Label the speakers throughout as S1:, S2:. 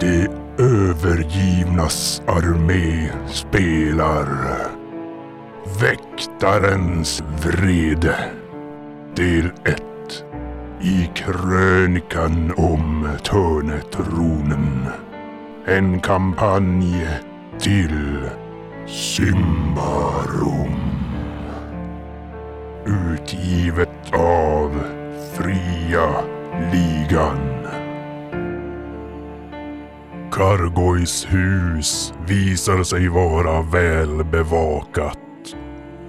S1: De övergivnas armé spelar Väktarens vrede Del 1 I krönikan om Törnetronen En kampanj till Symbarum Utgivet av Fria Ligan Kargois hus visar sig vara välbevakat.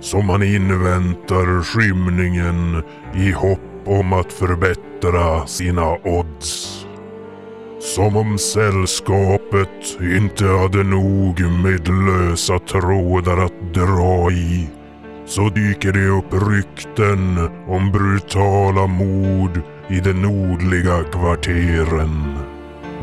S1: Så man inväntar skymningen i hopp om att förbättra sina odds. Som om sällskapet inte hade nog med lösa trådar att dra i så dyker det upp rykten om brutala mord i de nordliga kvarteren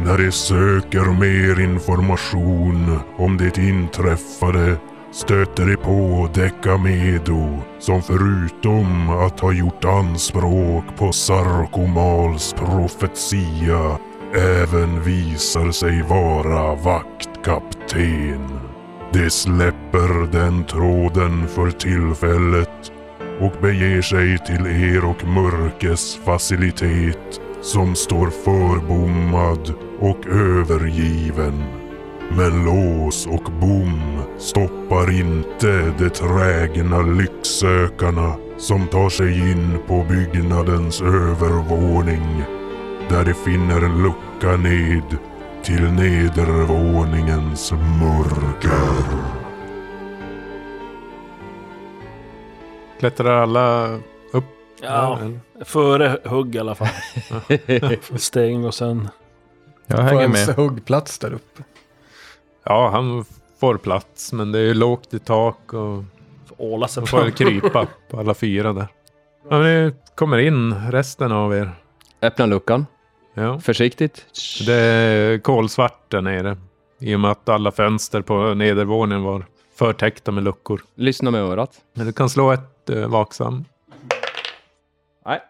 S1: när de söker mer information om det inträffade stöter de på Decamedo som förutom att ha gjort anspråk på Sarkomals profetia även visar sig vara vaktkapten. De släpper den tråden för tillfället och beger sig till er och Mörkes facilitet som står förbommad och övergiven. Men lås och bom stoppar inte de trägna lycksökarna som tar sig in på byggnadens övervåning där de finner en lucka ned till nedervåningens mörker.
S2: Klättrar alla upp?
S3: Ja,
S2: eller?
S3: före hugg i alla fall. Stäng och sen...
S4: Jag
S5: På
S4: hänger
S5: en
S4: med.
S5: huggplats där uppe.
S2: Ja, han får plats, men det är ju lågt i tak och
S3: Åla sig
S2: han får väl
S3: fram.
S2: krypa på alla fyra där. Ja, men det kommer in, resten av er.
S4: Öppna luckan.
S2: Ja.
S4: Försiktigt.
S2: Det är kolsvart där nere. I och med att alla fönster på nedervåningen var förtäckta med luckor.
S4: Lyssna med örat.
S2: Men du kan slå ett eh, vaksam.
S4: Nej,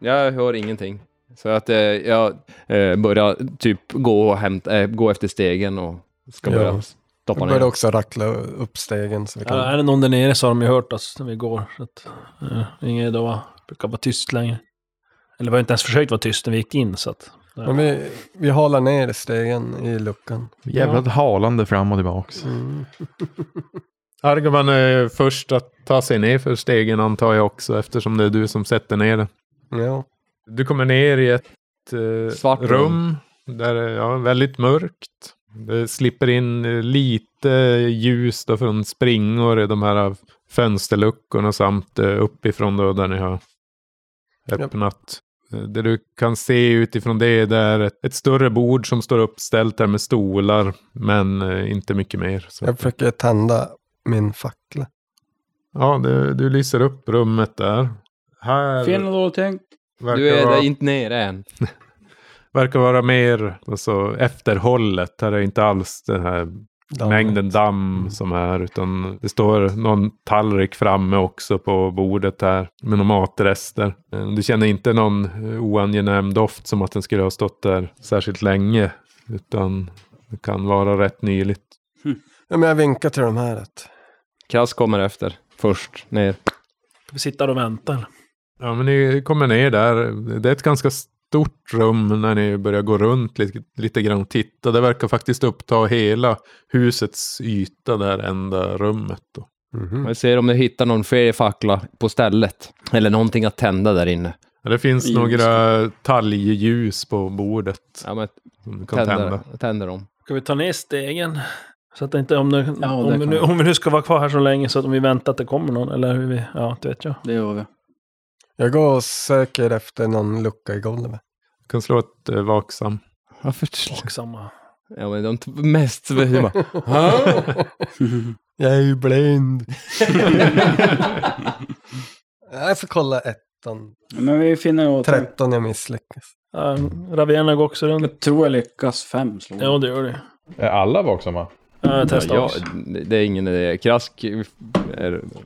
S4: jag hör ingenting. Så att eh, jag eh, börjar typ gå, och hämta, eh, gå efter stegen och ska
S5: Ja.
S4: börja stoppa
S5: Jag började
S4: ner.
S5: också rackla upp stegen så vi
S3: Ja,
S5: kan...
S3: är det någon där nere så har de ju hört oss när vi går. Så att, eh, ingen idé att vara- brukar vara tyst längre. Eller vi har inte ens försökt vara tyst när vi gick in. Så att, ja.
S5: Men vi, vi halar ner stegen i luckan.
S3: Jävla
S4: halande fram och tillbaks.
S5: Mm.
S2: Argoman är först att ta sig ner för stegen antar jag också eftersom det är du som sätter ner det.
S5: Ja.
S2: Du kommer ner i ett eh,
S4: Svart
S2: rum.
S4: rum.
S2: där det är ja, väldigt mörkt. Det slipper in eh, lite ljus då från springor i de här fönsterluckorna samt eh, uppifrån då där ni har öppnat. Eh, Det du kan se utifrån det där är ett- ett större bord som står uppställt där med stolar, men eh, inte mycket mer. Så.
S5: Jag försöker tända min fackla.
S2: Ja, du, du lyser upp rummet där. Här
S6: Fin och dålig tänk.
S2: verkar
S4: Du är
S2: vara...
S4: där inte nere än.
S2: verkar vara mer alltså, efterhållet. Här är inte alls den här
S5: Dammet.
S2: mängden damm som är. Utan det står någon tallrik framme också på bordet här. Med några matrester. Eh, Du känner inte någon eh, oangenäm doft som att den skulle ha stått där särskilt länge. Utan det kan vara rätt nyligt.
S5: Ja, men jag vinkar till de här. Att,
S4: Kass kommer efter. Först ner.
S3: Vi sitter och väntar.
S2: Ja, men ni kommer ner där. Det är ett ganska stort rum när ni börjar gå runt lite, lite grann och titta. Det verkar faktiskt uppta hela husets yta, det här enda rummet. Då.
S5: mhm.
S4: Vi ser om du hittar någon fler fackla på stället. Eller någonting att tända där inne.
S2: Ja, Det finns
S6: Ljus.
S2: några talgljus på bordet
S4: Ja, men
S2: som du kan
S4: tänder,
S2: tända.
S4: tänder dem.
S3: Ska vi ta ner stegen? Så att det inte, om, det,
S6: Ja, det
S3: om, vi
S6: kan
S3: nu,
S6: vi.
S3: om vi nu ska vara kvar här så länge så att om vi väntar att det kommer någon. Eller hur vi, ja, det vet jag.
S6: Det gör vi.
S5: jag går och söker efter någon lucka i golvet.
S2: Du kan slå ett eh, vaksam.
S4: Varför?
S3: Och samma.
S4: Ja, men de t- mest... Bara,
S5: jag är ju blind. jag får kolla ettan.
S6: Men vi finner åt...
S5: 13 jag misslyckas.
S3: Ja, Ravena går också runt.
S6: Jag tror jag lyckas fem slå.
S3: Ja, det gör det.
S7: Är alla vaksamma?
S3: Ja, jag testar
S4: ja,
S3: också.
S4: det är ingen idé. Krask är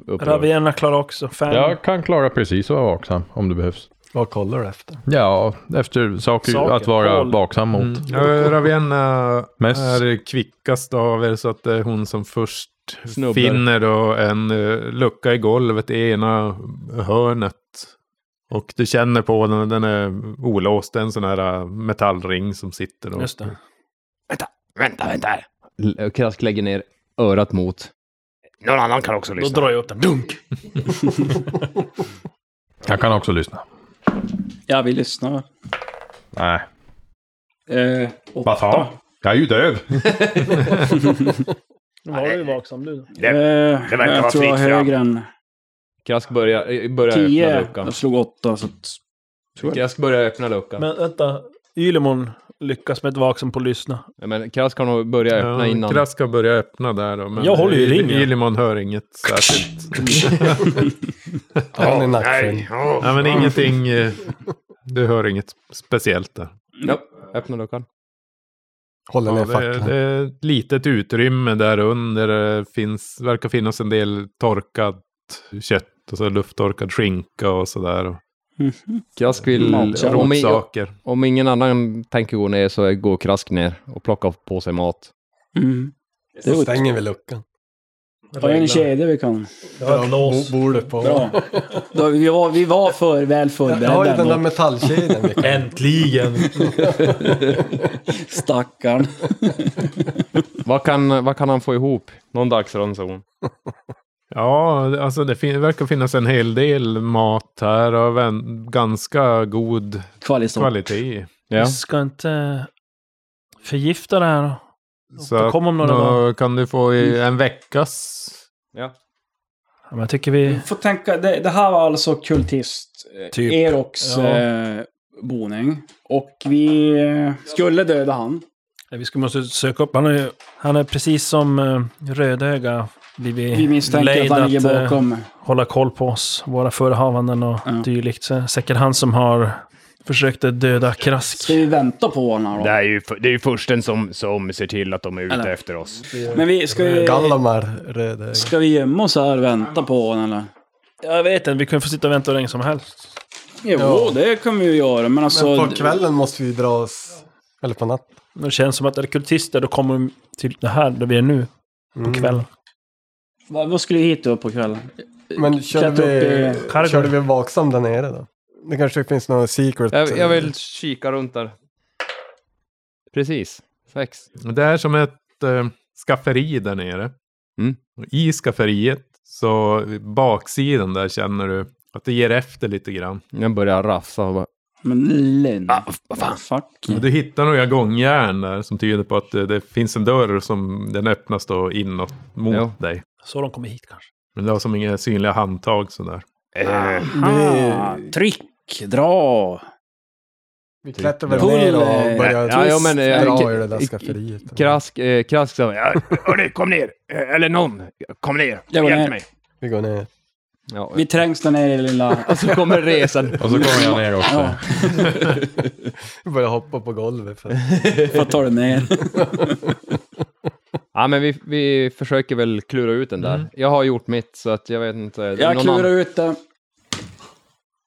S4: upprörd.
S3: Ravena klarar också. Fem.
S7: Mm. Jag kan klara precis att vara vaksam om det behövs.
S5: Vad kollar du efter?
S7: Ja, efter saker,
S3: Saker,
S7: att vara
S3: håll.
S7: vaksam mot.
S2: Mm. Ja, Ravenna
S7: Mest.
S2: är kvickast av er så att det är hon som först
S4: Snubblar.
S2: finner då en eh, lucka i golvet i ena hörnet. Och du känner på den, den är olåst, Det är en sån här eh, metallring som sitter. Och,
S3: Just det.
S4: Vänta, vänta här. L- Krask lägger ner örat mot. Någon annan kan också
S3: Då
S4: lyssna.
S3: drar jag upp den. Dunk!
S7: Jag kan också lyssna.
S6: Ja, vi lyssnar.
S7: Nej.
S6: Eh,
S7: Vad fan? Jag är ju döv.
S3: Nu var du ju vaksam nu.
S6: det, det verkar jag vara tror jag är högre än
S4: Krask börjar, eh, börjar öppna
S6: 10.
S4: luckan.
S6: Jag slog 8, så att...
S4: Krask börjar öppna luckan. Men,
S3: Men vänta. Ylemon lyckas med ett vaksam på att lyssna.
S4: ja, men Krask har nog börjat öppna
S2: Ja,
S4: innan.
S2: Krask har börjat öppna där då. Men
S3: Jag håller ju i
S2: Il-
S3: ringen.
S2: Ilimon hör inget särskilt.
S5: Han är nackfull.
S2: Nej, men ingenting. eh, Du hör inget speciellt där.
S4: Ja, öppna luckan.
S5: Håller ner
S2: Ja, det,
S5: facklan.
S2: det är ett litet utrymme där under. Det finns, verkar finnas en del torkat kött och så lufttorkad skinka och sådär.
S6: Mhm.
S4: Krask vill...
S2: Mm.
S6: Matsaker.
S4: Om, i-
S2: Rotsaker.
S4: om ingen annan tänker gå ner så går Krask ner och plockar på sig mat.
S6: Mm. Det
S5: Då
S6: var
S5: stänger vi luckan.
S6: Har jag en kedja vi kan?
S3: Ja,
S5: Bo- Bor du på?
S6: Bra. Då, vi, var, vi var för väl
S5: Jag har ju den där
S6: förberedda.
S5: metallkedjan. Micke.
S3: Äntligen!
S6: Stackarn.
S4: Vad kan, vad kan han få ihop? Någon dagsranson.
S2: Ja, alltså det fin- verkar finnas en hel del mat här av en ganska god
S6: Kvalitet.
S2: kvalitet.
S4: Ja.
S3: Vi ska inte förgifta det här.
S2: Så
S3: Då
S2: att
S3: kom om några Mm. dagar.
S2: då kan du få i en veckas...
S4: Ja.
S3: Ja, men jag tycker vi...
S6: Får tänka, det, det här var alltså kultist eh,
S3: Typ.
S6: Eroks
S3: Ja.
S6: eh, boning. Och vi eh, skulle döda han.
S3: Vi ska måste söka upp. Han är, han är precis som eh, Rödöga. Vi,
S6: Vi misstänker att han ligger bakom.
S3: eh, hålla koll på oss, våra förehavanden och
S6: Ja.
S3: dylikt. Så säkert han som har försökt att döda Krask.
S6: Ska vi vänta på honom då?
S4: är ju, det är ju försten som, som ser till att de är ute
S6: Eller-
S4: efter oss.
S6: Men vi, ska vi,
S5: Gallimar rödögd.
S6: ska vi gömma oss här och vänta på honom eller?
S3: Jag vet inte, vi kunde få sitta och vänta hur länge som helst.
S6: Jo,
S5: Ja.
S6: det kan vi ju göra. Men alltså...
S5: Men på kvällen måste vi dra oss... Eller på natten.
S3: Men Det känns som att är det kultister, då kommer de till det här där vi är nu
S5: Mm.
S3: på kvällen.
S6: Vad, vad skulle vi hit då på kvällen?
S5: Men körde
S6: Klättra upp
S5: vi,
S6: i
S3: skärgården.
S5: körde vi vaksam där nere då? Det kanske finns några secret...
S4: Jag, jag
S2: Mm.
S4: vill kika runt där. Precis. Sex.
S2: Det är som ett eh, skafferi där nere.
S4: Mm.
S2: Och I skafferiet, så baksidan där känner du att det ger efter lite grann.
S4: Jag börjar rafsa och bara...
S6: Men Linn. Ah, vad fan. Fuck.
S4: Mm.
S2: Och Du hittar några gångjärn där som tyder på att eh, det finns en dörr som den öppnas då inåt mot
S4: Ja.
S2: dig.
S3: Så de kommer hit kanske.
S2: Men det har som inga synliga handtag sådär.
S6: Aha, Ah, Tryck, dra.
S5: Vi klättrar väl
S6: Pull,
S5: ner och
S6: eh,
S5: börjar
S4: ja, ja, men, eh,
S5: dra i det där
S4: k-
S5: skafferiet.
S4: Krask, eh, krask sa ja, Hörni, kom ner! Eh, Eller någon, kom ner!
S6: Jag går ner.
S5: Vi går ner.
S4: Ja,
S6: Vi trängs där nere i det lilla...
S4: och så kommer resan.
S7: Och så kommer jag ner också.
S6: Ja,
S5: Vi börjar hoppa på golvet. För...
S6: för att ta det ner.
S4: Ja, men vi, vi försöker väl klura ut den där. Jag har gjort mitt, så att Mm. jag vet inte.
S6: Jag
S4: Någon
S6: klurar
S4: annan-
S6: ut det.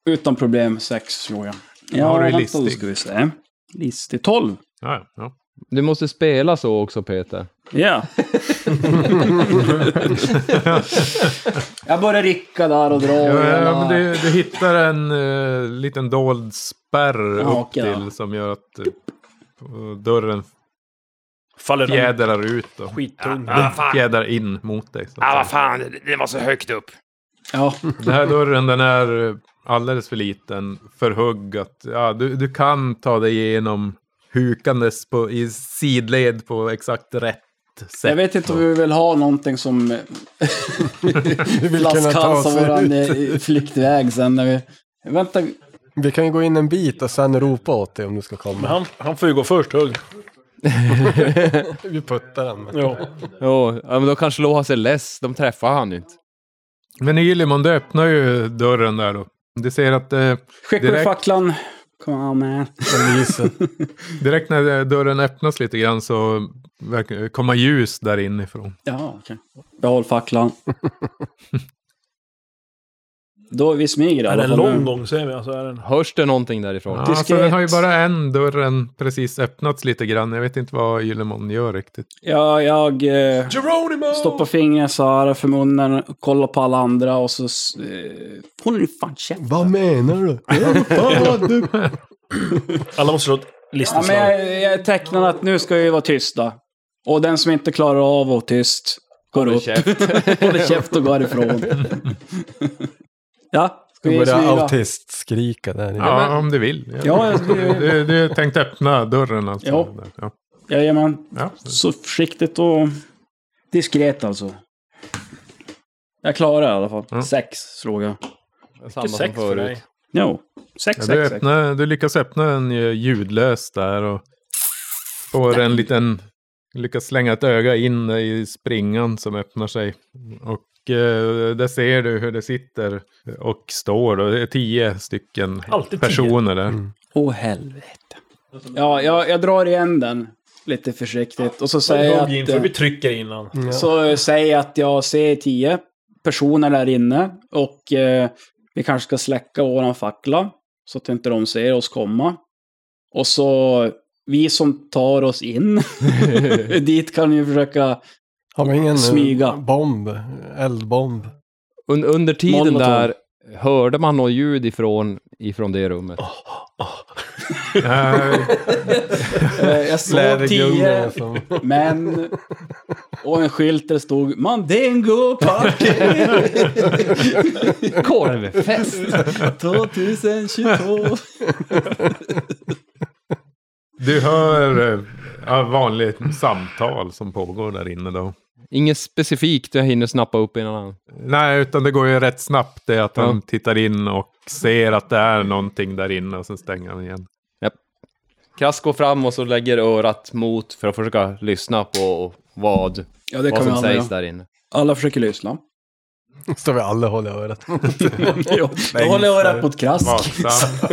S6: Utan problem, sex slår jag. Ja,
S2: har du
S6: vänta,
S2: listig.
S6: Då ska vi se. Listig. 12.
S2: Ja, ja.
S4: Du måste spela så också, Peter.
S6: Ja. jag börjar rycka där och dra. och
S2: ja,
S6: hela-
S2: men du, du hittar en eh, liten dold spärr
S6: Ja,
S2: upp
S6: okej då.
S2: till som gör att eh, dörren
S3: Faller de Ah,
S2: fjädrar ut då.
S3: skittung.
S2: Fjädrar in mot dig. Så att säga.
S3: Ah,
S8: fan, det var så högt upp.
S6: Ja,
S2: Den här dörren den är eh, alldeles för liten för hugg. Att, ja, du, du kan ta dig igenom hukandes på, i sidled på exakt rätt sätt.
S6: jag vet inte om vi vill ha någonting som
S5: Vi vill kunna ta
S6: flaskhalsar
S5: oss
S6: våran
S5: ut.
S6: eh, flyktväg sen när vi... Vänta,
S5: Vi kan ju gå in en bit och sen ropa åt dig om du ska komma.
S3: Han, han får ju gå först hugg.
S5: Vi puttar den. men-
S3: Ja.
S4: Ja, ja, men då kanske Loha sig less. De träffar han inte.
S2: Men Ylimon, du öppnar ju dörren där då. Du ser att eh,
S6: skicka upp
S2: Direkt.
S6: facklan. Kom on man.
S5: Den lyser.
S2: direkt när dörren öppnas lite grann så verkar det komma ljus där inifrån.
S6: Ja, okej. Behåll facklan. Då vi smyger i
S3: Är det
S6: alla
S3: en
S6: fall nu.
S3: lång gång ser vi? Alltså, är det en...
S4: Hörs det någonting därifrån?
S2: Ja,
S6: Diskret.
S2: för den har ju bara en dörren precis öppnats lite grann. Jag vet inte vad Gyllemon gör riktigt.
S6: Ja, jag eh, stoppar fingret så här för munnen, kollar på alla andra och så... s- Eh, håller ni fan käften?
S5: Vad menar du? Vad fan, du?
S3: Alla måste slå ett
S6: Ja, men
S3: listeslag.
S6: jag, jag tecknar att nu ska vi vara tysta. Och den som inte klarar av att vara tyst går upp, håller käft och går ifrån. ja, ska
S5: Du
S6: vi
S5: börjar
S6: smyga?
S5: autistskrika där. inne.
S2: Ja,
S4: men-
S2: om du vill.
S6: Ja, jag skulle-
S2: du, du tänkte öppna dörren alltså?
S6: Ja.
S2: Ja.
S6: Jajamän.
S2: Ja.
S6: Så försiktigt och diskret alltså. Jag klarar i alla fall.
S2: Mm.
S6: Sex slog jag.
S4: Samma som
S3: sex för
S4: förut.
S3: dig.
S6: Jo, sex,
S2: Ja, du,
S6: sex, sex.
S2: öppnar, du lyckas öppna den ju ljudlöst där och får en liten... Lyckas slänga ett öga in i springan som öppnar sig. Och eh, där ser du hur det sitter och står. Och det är tio stycken
S3: Alltid tio.
S2: personer där.
S6: Åh helvete. Ja, jag, jag drar igen den lite försiktigt. Och så säger jag
S3: Hugg in, för
S6: att, eh,
S3: vi trycker innan.
S5: Ja.
S6: så säger jag att jag ser tio personer där inne. Och eh, vi kanske ska släcka våran fackla. Så att inte de ser oss komma. Och så vi som tar oss in. dit kan ju försöka
S5: Har vi ingen eh,
S6: Smyga.
S5: bomb? Eldbomb?
S4: Un under tiden
S6: Molotov.
S4: där hörde man något ljud ifrån, ifrån det rummet.
S2: Nej,
S6: Eh, jag såg
S5: Slädergunga
S6: tio,
S5: som...
S6: men... Och en skylt där det stod Mandingo Party
S4: Korvfest!
S6: 2022.
S2: du hör eh, ja, vanligt samtal som pågår där inne då.
S4: Inget specifikt jag hinner snappa upp innan han...
S2: Nej, utan det går ju rätt snabbt det att han
S4: Ja.
S2: tittar in och ser att det är någonting där inne och sen stänger han igen.
S4: Krass går fram och så lägger örat mot för att försöka lyssna på vad,
S6: Ja, det
S4: vad
S6: kan vi
S4: som
S6: alla
S4: sägs
S6: göra.
S4: där inne.
S6: Alla försöker lyssna.
S5: Står vi alla och håller örat.
S6: jo, jag håller örat mot krask.
S2: Vaksam.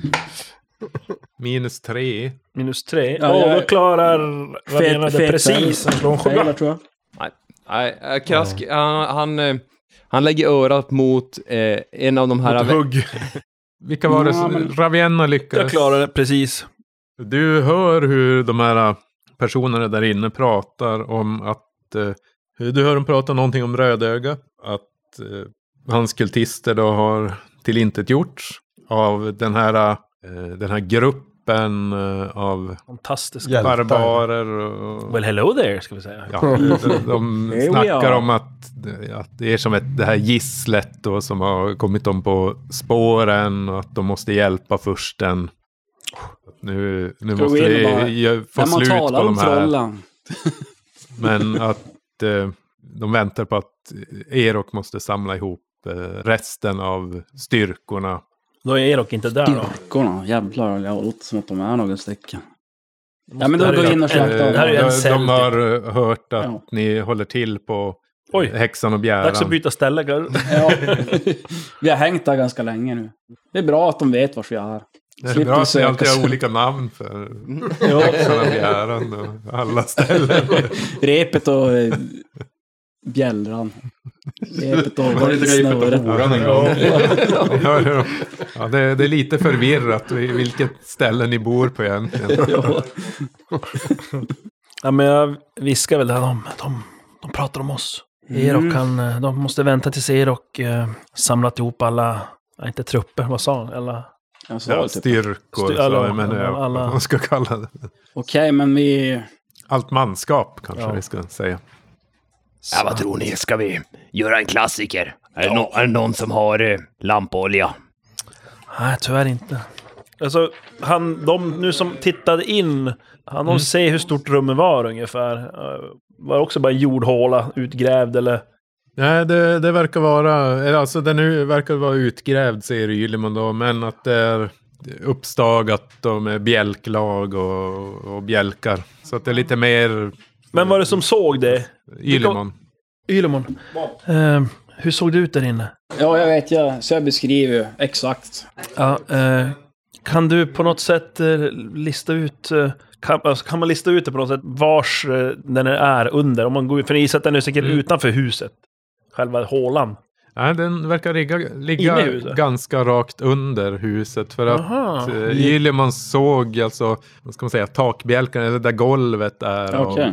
S2: Minus tre.
S3: Minus tre.
S6: Ja,
S3: Ja,
S6: jag-
S3: då klarar
S6: Fet-
S3: Ravena det
S6: fet-
S3: precis. Han slår en sjua.
S6: Failar, tror jag.
S4: Nej, eh, Krask, han, han, eh, han lägger örat mot eh, en av de här...
S2: Hugg. Vilka var det?
S6: Ja,
S2: som
S6: men-
S2: Ravenna lyckades.
S3: Jag klarar det precis.
S2: Du hör hur de här äh, personerna där inne pratar om att... Eh, du hör dem prata någonting om Rödöga. Att eh, hans kultister då har tillintetgjorts av den här, eh, den här gruppen eh, av
S3: Fantastiskt.
S5: Hjältar.
S2: barbarer. Och,
S3: Well, hello there, ska vi säga.
S2: ja, de, de
S6: Here we
S2: snackar
S6: are.
S2: om att, att det är som ett, det här gisslet då, som har kommit dem på spåren och att de måste hjälpa fursten. Nu, nu
S6: Ska vi
S2: måste
S6: gå in
S2: vi
S6: och bara-
S2: gö- få
S6: När man
S2: slut på
S6: talar om
S2: de här.
S6: trollen.
S2: Men att eh, de väntar på att Erok måste samla ihop eh, resten av styrkorna.
S3: Då är Erok inte där då.
S6: Styrkorna, jävlar. Det låter som att de är några stycken. Ja, men då går vi in och
S3: Det här är ju- eh,
S6: slaktar.
S3: det här är ju
S2: de,
S3: en
S2: de
S3: Celtic.
S2: har eh, hört att
S6: Ja.
S2: ni håller till på
S3: Oj.
S2: häxan och bjäran.
S3: Dags att byta ställe, gar.
S6: Ja. Vi har hängt där ganska länge nu. Det är bra att de vet vars vi är.
S2: Det är
S6: Slipper
S2: bra att ni
S6: söka
S2: alltid
S6: sig.
S2: har olika namn för häxan och bjäran och alla ställen.
S6: Repet och eh, bjällran. Repet och
S7: Var det inte repet och
S6: snöret.
S7: horan en gång?
S2: Ni hör hur de- ja, det, det är lite förvirrat i vilket ställe ni bor på egentligen.
S6: Ja.
S3: Ja, men jag viskar väl det här. De, de, de pratar om oss. Erok, han, eh, de måste vänta tills Erok eh, samlat ihop alla, nej, inte trupper, vad sa han? Alla,
S6: Jag sa
S2: Ja,
S6: väl typ.
S2: styrkor,
S3: Styr- alla-
S2: så, men,
S3: alla-
S2: alla,
S3: alla-
S2: vad man ska kalla det.
S6: Okej, men vi...
S2: Allt manskap kanske
S3: Ja.
S2: vi ska säga.
S8: Ja, vad tror ni? Ska vi göra en klassiker? Är, det, nå- är det någon som har eh, lampolja?
S3: nej tyvärr inte. Alltså, han, de nu som tittade in, han de se hur stort rummet var ungefär. Eh, Var det också bara en jordhåla utgrävd eller?
S2: Nej, det, det verkar vara, eller alltså den nu verkar vara utgrävd säger Ylimon då, men att det är uppstagat då med bjälklag och, och bjälkar. Så att det är lite mer
S3: Men var det som såg det?
S2: Ylimon.
S3: Ylemon. Eh, hur såg det ut där inne?
S6: Ja, jag vet, jag, så jag beskriver ju exakt.
S3: Ja, eh, kan du på något sätt eh, lista ut... Eh, kan, alltså, kan man lista ut det på något sätt vars Mm. eh, den är under? Om man går, för jag gissar att den är säkert utanför huset. Själva hålan.
S2: Nej, den verkar ligga,
S3: Inne
S2: ligga
S3: i huset?
S2: ganska rakt under huset. För att
S3: Aha.
S2: eh, Gilliman såg alltså, vad ska man säga, takbjälkarna, eller där golvet är
S6: Okej.
S2: och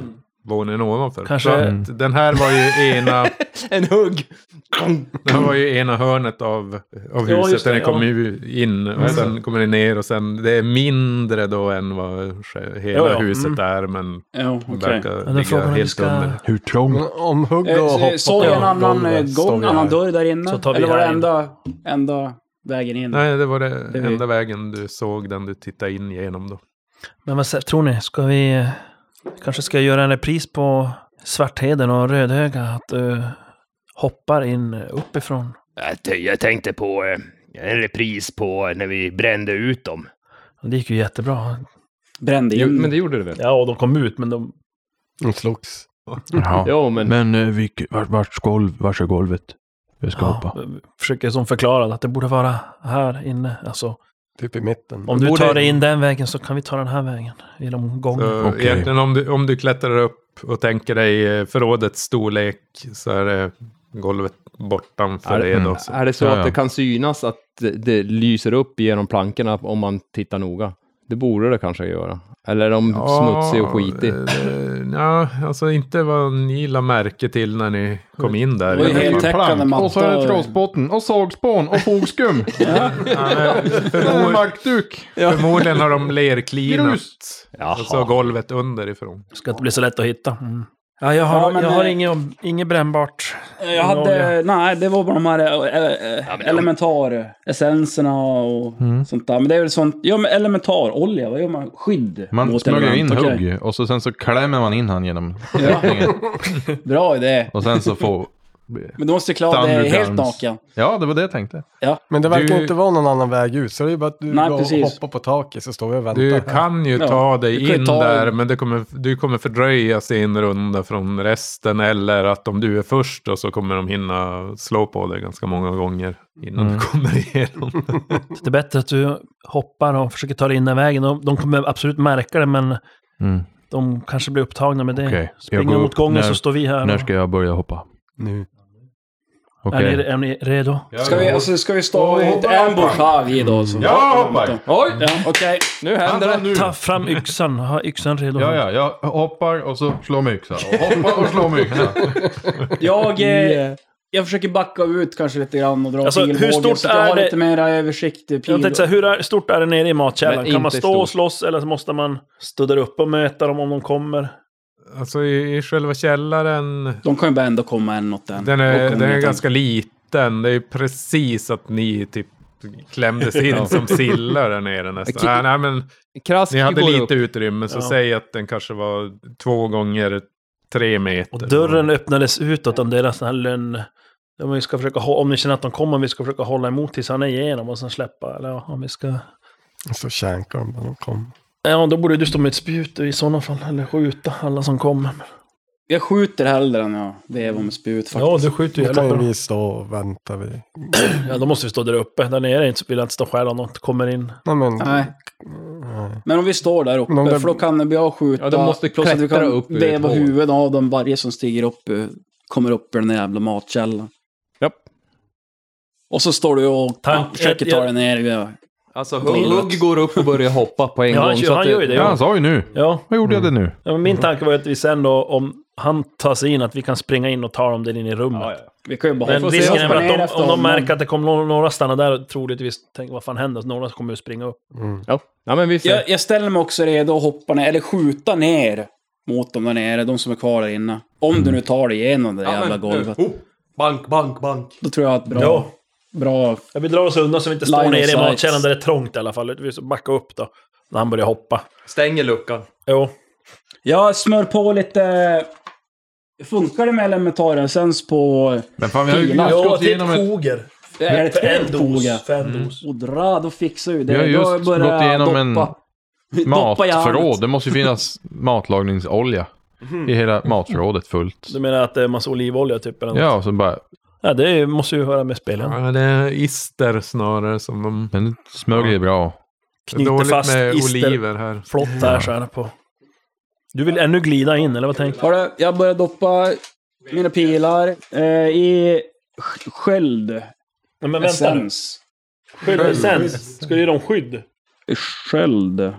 S2: våningen ovanför.
S3: Kanske-
S2: Så att den här var ju ena,
S4: En hugg!
S2: den här var ju ena hörnet av, av
S3: Ja,
S2: huset.
S3: just
S2: där
S3: det,
S2: den kommer
S3: ja. Mm.
S2: ju in och sen kommer den ner och sen, det är mindre då än vad sj- hela
S3: Ja, ja,
S2: huset
S3: mm.
S2: är. Men
S6: Ja, okej.
S2: verkar
S3: den
S2: ligga
S3: frågan är om vi
S2: helt
S3: ska-
S2: under.
S1: Hur trångt?
S5: Om hugg och
S6: Eh,
S5: hopp.
S6: så- Såg jag en annan eh, gång, annan dörr där
S3: Så
S6: inne?
S3: tar vi
S6: Eller var det
S3: här in.
S6: enda, enda vägen in?
S2: Nej, det var det
S6: Det är vi.
S2: enda vägen du såg, den du tittade in genom då.
S3: Men vad sä- tror ni? Ska vi... eh, Kanske ska jag göra en repris på Svartheden och Rödhöga? Att uh, hoppar in eh, uppifrån.
S8: Jag, t- jag tänkte på eh, en repris
S4: eh,
S8: på när vi brände ut dem.
S3: Det gick ju jättebra.
S6: Brände
S4: Jo,
S6: in.
S4: men det gjorde du väl?
S3: Ja, och de kom ut, men de...
S5: De slogs.
S1: Jaha.
S4: Jo, men...
S1: Men eh, vilk, vart, vart, golv, vart är golvet? Jag ska hoppa.
S3: Ja, försöker som förklara att det borde vara här inne. Alltså,
S5: Typ i mitten.
S3: om du
S4: Borde-
S3: tar dig in den vägen så kan vi ta den här vägen. Genom gången.
S4: Mm,
S2: Så
S1: Okej.
S2: Eh, egentligen om du, om du klättrar upp och tänker dig eh, förrådets storlek så är det golvet bortanför
S4: Är det- mm,
S2: det då. Så.
S4: Är det så
S1: Ja,
S4: att det
S1: ja.
S4: kan synas att det, det lyser upp genom plankorna om man tittar noga? Det borde det kanske göra. Eller är de smutsiga och skitiga?
S2: eh, Ja, alltså inte vad ni la märke till när ni kom in där.
S6: Det var ju
S2: Nej,
S6: helt- heltäckande matta
S7: och så är det
S6: och-
S7: trossbotten och sågspån och fogskum.
S2: förmo-
S7: Mackduk.
S2: Förmodligen har de lerklinat
S7: Grus.
S2: alltså golvet underifrån.
S3: Ska inte bli så lätt att hitta. Mm. Ja, jag har,
S6: Ja, men,
S3: jag har
S6: eh,
S3: inget, inget brännbart.
S6: Jag hade, nej, det var bara de här äh,
S8: men-
S6: elementar, essenserna och
S2: Mm.
S6: sånt där. Men det är väl sånt, ja men elementarolja, vad gör man? Skydd
S7: Man
S6: mot
S7: smög in
S6: element, okej.
S7: hugg och så, sen så klämmer man in han genom
S6: Ja.
S7: öppningen.
S6: Bra idé.
S7: Och sen så får...
S6: Men du måste klara dig
S7: Thunderguns.
S6: helt naken.
S7: Ja, det var det jag tänkte.
S5: Men det verkar
S2: Du-
S5: inte vara någon annan väg ut. Så det är bara att du
S6: Nej,
S5: går och
S6: precis.
S5: hoppar på taket så står vi och väntar.
S2: Du
S5: här.
S2: kan ju
S6: Ja,
S2: ta
S6: du
S2: dig
S6: kan ju
S2: in
S6: ta-
S2: där, men det kommer, du kommer fördröjas i en runda från resten. Eller att om du är först då, så kommer de hinna slå på dig ganska många gånger innan
S4: Mm.
S2: du kommer igenom.
S3: Det är bättre att du hoppar och försöker ta dig in den vägen. De, de kommer absolut märka det, men
S7: Mm.
S3: de kanske blir upptagna med det.
S7: Okej, jag
S3: Springer
S7: går
S3: mot
S7: upp.
S3: gången
S7: När-
S3: så står vi här.
S7: När ska jag börja hoppa?
S5: Nu.
S7: Okej.
S3: är, ni, är ni redo?
S6: Ska vi, alltså, ska vi stå och hitta en här idag alltså?
S7: Jag hoppar!
S4: Oj,
S6: Ja, okej.
S4: nu händer det!
S7: nu.
S3: Ta fram yxan, ha yxan redo.
S7: Ja, ja, jag hoppar och så slår med yxa. Och hoppar och slår med yxa.
S6: Jag, eh, jag försöker backa ut kanske lite grann och dra
S3: Alltså, hur
S6: pilbågen.
S3: stort
S6: så att jag
S3: är
S6: har
S3: det-
S6: lite mer översiktlig pil.
S3: Jag tänkte så här, hur är, stort är det nere i matkällan?
S4: Men
S3: Kan man
S4: inte
S3: stå och
S4: stort.
S3: slåss eller så måste man stå där uppe och möta dem om de kommer?
S2: Alltså i, i själva källaren,
S6: De kan ju bara ändå komma en åt en.
S2: den
S6: Då
S2: är,
S6: kommer
S2: den är
S6: jag
S2: ganska liten. Det är ju precis att ni typ klämdes in som sillar där nere nästan.
S4: Okej.
S2: Nej, nej, men
S4: Krask
S2: ni hade
S4: går
S2: lite
S4: upp.
S2: utrymme, så
S3: Ja.
S2: säg att den kanske var två gånger tre meter.
S3: Och dörren öppnades utåt om deras sån här lönn... Om, vi ska försöka, hå- om ni känner att de kommer, om vi ska försöka hålla emot tills han är igenom och sen släppa. Eller ja, om vi ska...
S5: Så känkar de bara. De kom.
S3: Ja, då borde du stå med ett spjut i sådana fall. Eller skjuta alla som kommer.
S6: Jag skjuter hellre än jag vevar med spjut faktiskt.
S3: Ja, du skjuter ju
S5: Då kan
S3: jävla
S5: ju
S3: bra.
S5: vi stå och vänta. Vi.
S3: Ja, då måste vi stå där uppe. Där nere är inte- vill jag inte stå själv om något kommer in.
S5: Nej, men,
S6: Nej.
S3: Mm.
S5: nej.
S6: Mm. Men om vi står där uppe,
S5: Men om det-
S6: för då kan jag skjuta.
S4: Ja, de måste
S6: plus att vi
S4: klättra
S6: kan
S4: upp ur ett
S6: veva
S4: hål.
S6: huvudet av dem varje som stiger upp, eh, kommer upp ur den där jävla matkällan.
S4: Japp.
S6: Och så står du och
S3: Ta-
S6: försöker
S3: jag-
S6: ta dig ner. Ja.
S4: Alltså hugg, hugg går upp och börjar hoppa på en
S3: Ja,
S4: gång.
S3: han-
S4: så att
S3: han gör ju det,
S7: Ja, han sa ju nu.
S3: Ja,
S7: Vad gjorde jag det nu?
S3: ja, men min tanke var ju att vi sen då, om han tar sig in, att vi kan springa in och ta dem där inne i rummet.
S4: Ja, ja.
S6: Vi kan ju bara
S3: Men
S6: hoppa-
S3: risken
S6: hoppa
S3: är väl
S6: ner
S3: att
S6: efter
S3: de, om de
S6: honom.
S3: märker att det kommer några, några stanna där och troligtvis tänker vad fan händer? Så Några kommer ju springa upp.
S4: Ja. ja, men vi ser.
S6: Jag, jag ställer mig också redo att hoppa ner, eller skjuta ner mot dem där nere, de som är kvar där inne. Om
S3: Mm.
S6: du nu tar dig igenom det jävla golvet.
S4: eh, oh, bank, bank, bank.
S6: Då tror jag att bra...
S3: Ja.
S6: Bra.
S3: Ja, vi drar oss undan så vi inte
S6: Line
S3: står
S6: of
S3: nere i
S6: sight.
S3: matkällan där det är trångt i alla fall. Vi så backa upp då, när han börjar hoppa.
S4: Stänger luckan.
S3: Jo.
S6: Jag smör på lite... Funkar det med elementaressens på...
S7: Men fan, vi har ju
S6: Fina.
S7: just gått igenom ett...
S3: foger.
S6: Är det tält foga?
S3: För en dos.
S6: Odra, då fixar ju det.
S7: Vi har
S6: Då
S7: just
S6: börjar
S7: gått
S6: jag
S7: igenom en
S6: doppa. Doppa järnet.
S7: matförråd. Det måste ju finnas matlagningsolja. I hela matförrådet fullt.
S3: Du menar att det är massa olivolja typ? Eller något?
S7: Ja, och så bara...
S3: ja, det är- måste ju höra med spelen.
S2: Ja, det är ister snarare som de...
S7: Den smög ju bra.
S3: Knyter
S2: Dåligt
S3: fast
S2: med
S3: ister.
S2: oliver här.
S3: Flott här så här på. Du vill ännu glida in, eller vad tänker du?
S6: Har du, jag börjar doppa mina pilar eh, i sk- sköld.
S3: Nej, men vänta nu.
S6: Essens.
S3: Sköldessens. Ska ge dem skydd?
S6: Sköld.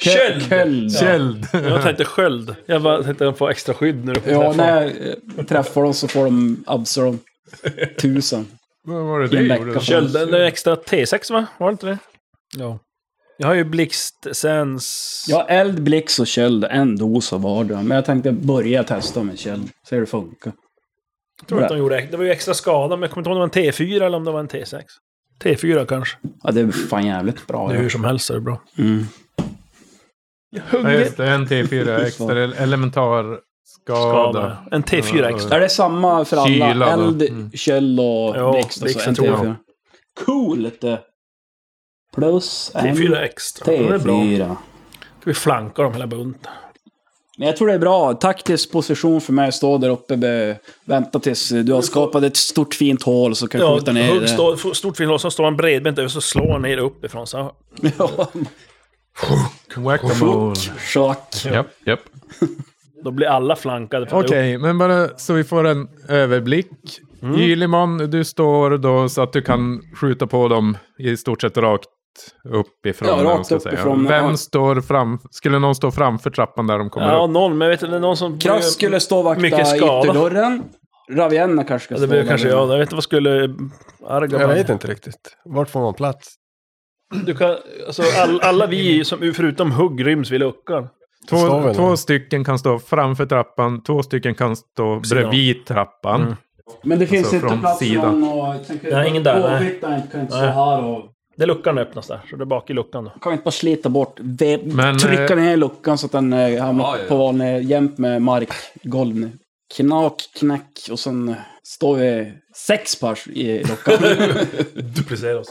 S3: Köld!
S6: Köld.
S2: Käld.
S3: Jag tänkte sköld. Jag bara tänkte att de får extra skydd när du får
S6: Ja,
S3: träffa.
S6: när jag eh, träffar dem så får de absar dem. Tusen.
S2: Vad var det
S6: I en
S2: det
S6: vecka.
S2: gjorde?
S3: Köld, det är extra T6 va? Var det inte det? Ja. Jag har ju blixtsens...
S6: Jag har eld, blix och köld. En dos av vardera. Men jag tänkte börja testa med köld. Se hur det funkar.
S3: jag tror att de gjorde... Det var ju extra skada, men jag kommer inte ihåg om det var en T4 eller om det var en T6. T4 kanske.
S6: Ja, det är fan jävligt bra.
S3: Det är hur
S6: Ja.
S3: som helst är det bra.
S6: Mm.
S2: Ja, just det. En T4 extra elementar skada.
S3: Skada. En T4
S2: Ja,
S3: extra.
S6: Är det samma för alla?
S2: Kyla, va?
S6: eld,
S2: Mm.
S6: köld och
S3: Ja,
S6: blix.
S3: blixen
S6: Alltså, en
S3: tror jag.
S6: T4. Coolt! eh. Plus en
S3: T4 extra. Det är bra.
S6: T4.
S3: Ska vi flanka dem hela bunten?
S6: Men jag tror det är bra. Taktisk position för mig. Stå där uppe. Be, vänta tills du har skapat ett stort fint hål så kan du
S3: Ja,
S6: skjuta ner
S3: hugg
S6: det.
S3: stå, f- stort fint hål, så står han bredbent över, så slår han ner uppifrån. Så
S6: Ja,
S2: Whack-a-mole.
S6: Schack.
S7: Japp, japp.
S3: då blir alla flankade. för att
S2: Okej, men bara så vi får en överblick. Ylimon, du står då så att du kan skjuta på dem i stort sett rakt uppifrån.
S6: Ja,
S2: eller vad man
S6: rakt
S2: ska säga.
S6: uppifrån.
S2: Vem
S6: Ja.
S2: står fram? Skulle någon stå framför trappan där de kommer
S3: Ja,
S2: upp?
S3: någon, men vet du, det är någon som...
S6: Krass skulle stå och vakta
S3: Mycket skada.
S6: ytterdörren. Ravienna kanske ska
S3: Ja,
S6: stå
S3: det blir
S6: där
S3: kanske
S6: nere.
S3: jag. Jag vet inte vad skulle Arga...
S5: Jag vet inte riktigt. Vart får man plats?
S3: Du kan, alltså, all, alla vi som, förutom hugg, ryms vid luckan.
S5: står
S2: Två,
S5: väl
S2: två
S5: där.
S2: stycken kan stå framför trappan, två stycken kan stå
S3: Sidan.
S2: bredvid trappan.
S3: Mm.
S6: Men det finns
S2: Alltså,
S6: inte
S2: från
S6: plats för
S2: sidan.
S6: någon och... Tänker,
S3: Nej, ingen där, nej.
S6: Påbytaren kan inte stå
S3: Nej.
S6: här och...
S3: Det är luckan öppnas där, så det är bak i luckan då.
S6: Kan vi inte bara slita bort, ve-
S2: Men,
S6: trycka
S2: eh,
S6: ner luckan så att den eh, hamnar på vanlig jämt med markgolv nu. Knak, knack och sen eh, står vi sex pers i luckan.
S3: Duplicera oss.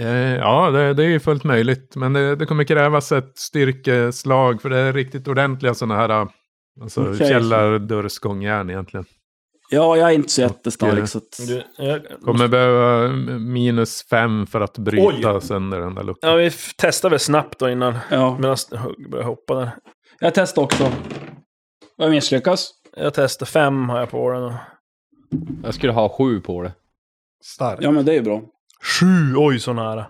S2: Eh, ja, det, det är ju fullt möjligt. Men det, det kommer krävas ett styrkeslag för det är riktigt ordentliga sådana här alltså,
S6: Okej.
S2: källardörrsgångjärn egentligen.
S6: ja, jag är inte så jättestark så att...
S3: Du, jag,
S2: Kommer behöva minus fem för att bryta sönder den där luckan.
S3: ja, vi f- testar väl snabbt då innan,
S6: Ja,
S3: medan hugg börjar hoppa där.
S6: jag testar också. Jag misslyckas.
S3: Jag testar fem har jag på den. och-
S4: Jag skulle ha sju på det.
S5: Stark.
S6: Ja, men det är ju bra.
S3: Sju, oj så nära.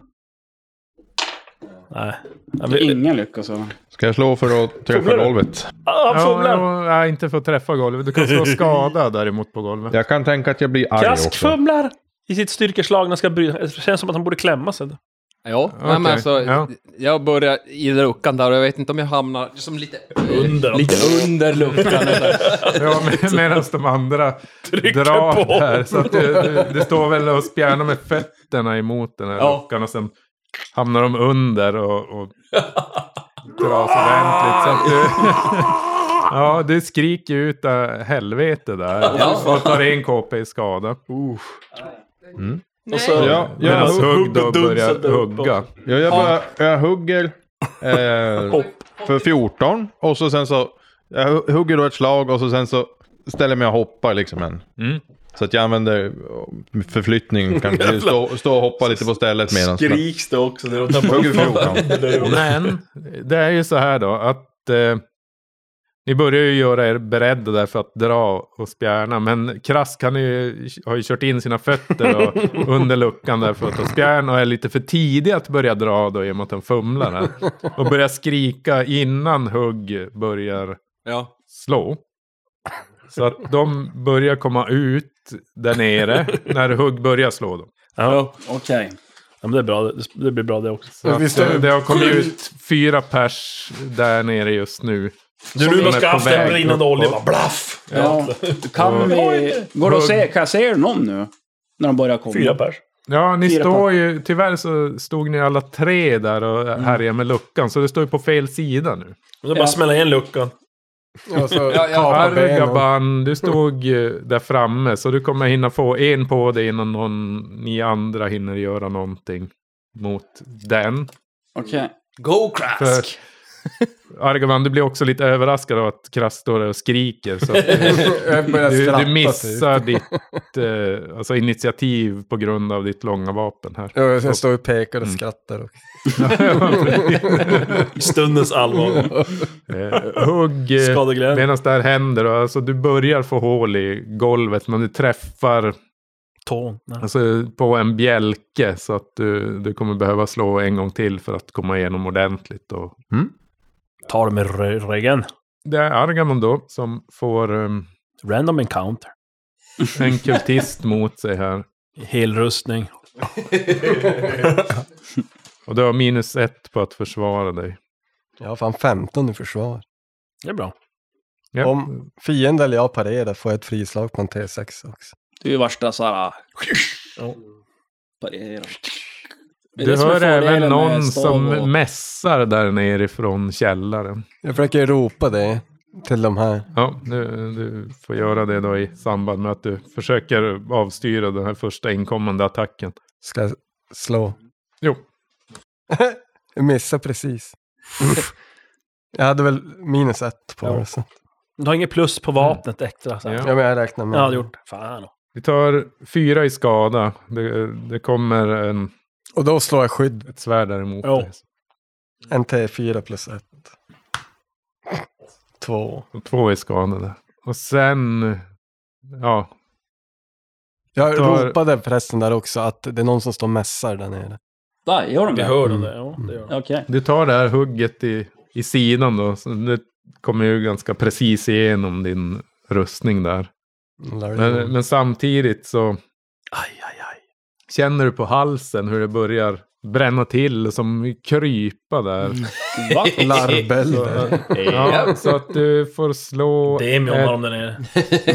S3: Nej. Ja, vi,
S6: Ingen lyckas. Ja.
S7: Ska jag slå för att träffa
S3: Fumlar du?
S7: golvet?
S3: ah, han fumlar!
S2: Ja, ja, inte få träffa golvet. Du kan slå skada däremot på golvet.
S7: Jag kan tänka att jag blir arg
S3: Krask
S7: också.
S3: fumlar! I sitt styrkeslag när han ska bryta. Det känns som att han borde klämma sig.
S4: Ja, nej, men
S2: Okej,
S4: alltså,
S2: ja.
S4: jag börjar i luckan där och jag vet inte om jag hamnar som lite eh,
S3: Under.
S4: lite under luckan. eller-
S2: Ja, med, Medan de andra drar
S3: på.
S2: där. Så att du, du, du står väl och spjärnar med fötterna emot den här
S4: Ja.
S2: luckan. Och sen hamnar de under och, och dras ordentligt. Så att du, ja, du skriker ut äh, helvete där. Och tar en KP i skada.
S3: Och så, ja.
S7: Ja,
S2: Medan
S7: jag,
S2: hugg då
S3: dunsade
S2: börjar
S3: upp
S2: hugga.
S3: också.
S7: jag, jag, bara, jag hugger eh, för 14 och så sen så... Jag hu- hugger då ett slag och så sen så ställer jag mig och hoppar liksom en.
S2: Mm.
S7: Så att jag använder eh, förflyttning, kanske stå, stå och hoppa lite på stället medan...
S3: Skriks det också när de tappar
S7: Hugger 14.
S2: Men det är ju så här då att eh, ni börjar ju göra er beredda där för att dra och spjärna. Men Krask han är ju, har ju kört in sina fötter då, under luckan där för att ta spjärn och är lite för tidig att börja dra då i och med att han fumlar där. Och börjar skrika innan hugg börjar
S4: Ja.
S2: slå. Så att de börjar komma ut där nere när hugg börjar slå dem.
S3: Ja.
S6: Okej.
S3: Ja, men det, är bra. Det, det blir bra det också.
S2: Så att, eh, det har kommit ut fyra pers där nere just nu.
S3: Du, nu
S2: är
S3: man ska
S2: på
S3: haft en
S2: väg
S3: brinnande
S2: uppåt.
S3: olja bara blaff!
S6: Ja. Kan vi... Går det att se? Kan jag se er någon nu? När de börjar komma?
S3: Fyra pers.
S2: Ja, ni
S6: Fyra
S2: står ju... Tyvärr så stod ni alla tre där och härjade med luckan. Så det står ju på fel sida nu.
S3: Och så bara
S6: Ja.
S3: smälla igen luckan.
S5: Och så
S4: Ja, ja.
S5: kapa
S2: Arga
S5: ben och...
S2: Gabban, du stod eh, där framme. Så du kommer hinna få en på dig innan någon, ni andra hinner göra någonting mot den.
S6: Okej.
S4: Go Krask!
S2: För Argavan, du blir också lite överraskad av att Krass står där och skriker. Så att, eh,
S5: Jag börjar
S2: du,
S5: skratta
S2: du
S5: typ.
S2: missar ditt eh, alltså initiativ på grund av ditt långa vapen här.
S5: Ja, Jag står och pekar och
S2: Mm.
S5: skrattar. Och...
S3: I stundens allvar.
S2: Eh, hugg eh,
S3: Skadeglädje.
S2: medan det här händer. då. Alltså, du börjar få hål i golvet men du träffar
S3: tån. Nej.
S2: Alltså på en bjälke så att du, du kommer behöva slå en gång till för att komma igenom ordentligt. Och
S3: Ta det med rö- ryggen.
S2: det är Argamon då som får um,
S3: Random encounter.
S2: en kultist mot sig här.
S3: Helrustning.
S2: Och du har minus ett på att försvara dig.
S5: Jag har fan 15 i försvar.
S3: Det är bra.
S2: Ja.
S5: Om fienden eller jag parerar får jag ett frislag på en T6 också.
S6: Det är ju värsta så här...
S3: Ja.
S6: Parera. Det är
S2: Du
S6: det som är
S2: hör även
S6: fördelen med
S2: någon
S6: stav och-
S2: som mässar där nerifrån källaren.
S5: Jag försöker ropa det till de här.
S2: Ja, du, du får göra det då i samband med att du försöker avstyra den här första inkommande attacken.
S5: Ska jag slå?
S2: Jo.
S5: Jag missade precis. jag hade väl minus ett på
S3: Ja.
S5: det. Så.
S3: Du har inget plus på vapnet extra. Så. här.
S2: Ja.
S5: Ja, men jag räknar med
S3: Mm. Ja, det har gjort. Fan.
S2: Vi tar fyra i skada. Det, det kommer en,
S5: Och då slår jag skydd.
S2: ett svärd däremot.
S3: Ja.
S2: dig.
S5: En T4 plus ett. Två.
S2: Och två i skada där. Och sen... Ja,
S5: Jag
S2: Tar-
S5: ropade förresten där också att det är någon som står och mässar där nere.
S6: Där, gör de
S3: Vi
S6: det?
S3: hör dem där. Ja, det gör de.
S6: Okej.
S2: du tar det här hugget i, i sidan då. Så det kommer ju ganska precis igenom din rustning där. Men, men samtidigt så
S3: Aj, aj, aj.
S2: känner du på halsen hur det börjar bränna till och som krypa där.
S3: Mm.
S6: Va?
S2: Så,
S5: Larvbölder.
S2: ja, så att du får slå...
S3: Demion har
S2: ett,
S3: de där nere.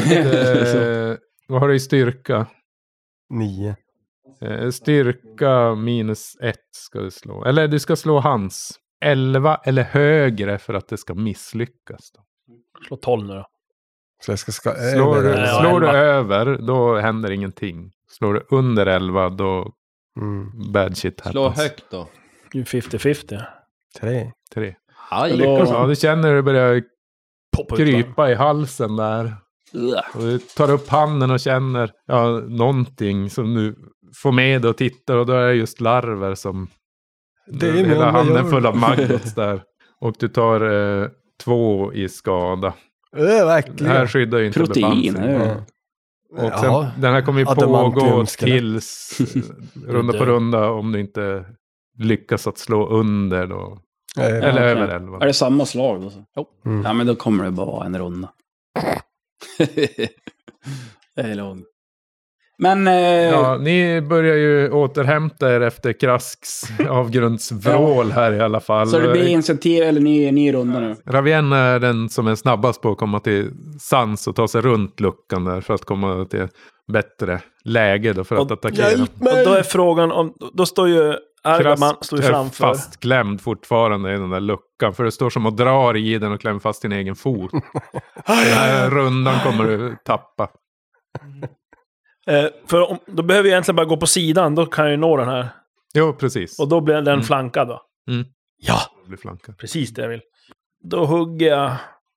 S2: eh, vad har du i styrka?
S5: Nio.
S2: Eh, Styrka minus ett ska du slå. Eller du ska slå hans. 11 eller högre för att det ska misslyckas. Då.
S3: Slå 12 nu då.
S5: Så jag ska ska
S2: Slår, du,
S5: över.
S3: Ja,
S2: slår du
S3: elva.
S2: över, då händer ingenting. Slår du under 11, då
S5: Mm,
S2: bad shit happens.
S4: Slå högt då.
S3: Du är 50-50.
S5: tre.
S2: Tre.
S4: Aj.
S2: Ja, du känner hur det börjar
S3: Poppa ut där.
S2: krypa i halsen där. Och du tar upp handen och känner ja, någonting som du får med dig och tittar och då är det just larver som...
S5: Det är min,
S2: hela
S5: vad gör
S2: handen
S5: du?
S2: full av maggots där. Och du tar eh, två i skada.
S5: Öh,
S2: Det här
S5: verkligen.
S2: skyddar ju inte
S6: Protein.
S2: bepansring.
S6: är det.
S5: Ja.
S2: Och sen,
S5: Ja.
S2: Den här kommer ju pågå
S5: Adamantiumskelett.
S2: tills eh, runda på runda om du inte lyckas att slå under då.
S5: Eh,
S2: Eller
S6: okej.
S2: över elva.
S6: Är det samma slag då? så?
S5: Mm.
S6: Ja, men då kommer det bara vara en runda. det är långt. Men... Eh,
S2: Ja, ni börjar ju återhämta er efter Krasks avgrundsvrål här i alla fall.
S6: Så det blir initiativ eller ny, ny runda nu?
S2: Ravien är den som är snabbast på att komma till sans och ta sig runt luckan där för att komma till bättre läge då för att
S3: Och-
S2: attackera.
S3: Och då är frågan om... Då står ju Argaman står ju
S2: är
S3: framför.
S2: fastklämd fortfarande i den där luckan för det står som och drar i den och klämmer fast sin egen fot. den här rundan kommer du tappa.
S3: Eh, för om, då behöver jag egentligen bara gå på sidan. Då kan jag ju nå den här.
S2: Jo, precis.
S3: Och då blir den flankad va?
S2: Mm.
S3: Ja,
S2: Blir flankad.
S3: precis det jag vill. Då hugger jag.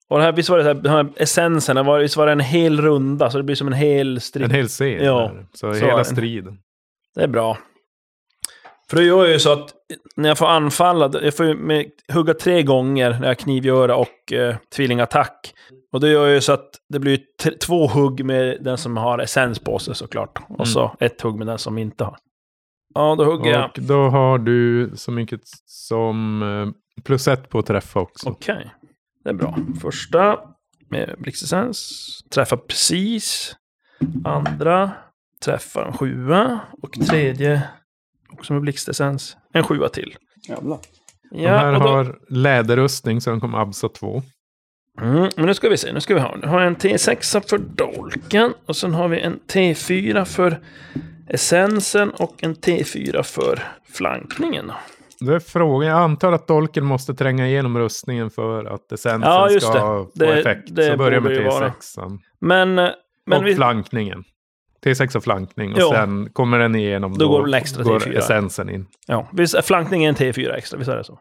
S3: Och det här, visst var det så här, den här essensen, det var, visst var det en hel runda, så det blir som en hel strid.
S2: En hel scen.
S3: Ja,
S2: där. Så,
S3: så är
S2: hela
S3: det.
S2: striden.
S3: Det är bra. För då gör jag ju så att när jag får anfalla, jag får ju med, hugga tre gånger när jag knivgöra och eh, tvillingattack. Och det gör jag ju så att det blir t- två hugg med den som har essens på sig såklart.
S2: Mm.
S3: Och så ett hugg med den som inte har. Ja, då hugger jag.
S2: Och då har du så mycket som eh, plus ett på att träffa också.
S3: Okej. Det är bra. Första med blixtessens. Träffar precis. Andra träffar en sjua. Och tredje också med blixtessens. En sjua till.
S6: Jävlar.
S2: de här
S3: Ja, och då,
S2: har läderrustning så de kommer absa två.
S3: mm, men nu ska vi se. Nu ska vi ha. Nu har jag en T6 för dolken. Och sen har vi en T4 för essensen. Och en T4 för flankningen.
S2: Det är frågan. Jag antar att dolken måste tränga igenom rustningen för att essensen
S3: Ja, just det.
S2: ska få
S3: Det-
S2: effekt.
S3: det
S2: så börja med
S3: borde ju vara.
S2: T6.
S3: Men, eh, men
S2: och
S3: vi,
S2: flankningen. T6 och flankning. Och
S3: Ja.
S2: sen kommer den igenom.
S3: Då går den extra
S2: går
S3: T4.
S2: essensen in.
S3: ja, visst är flankning en T4 extra. Visst är det så?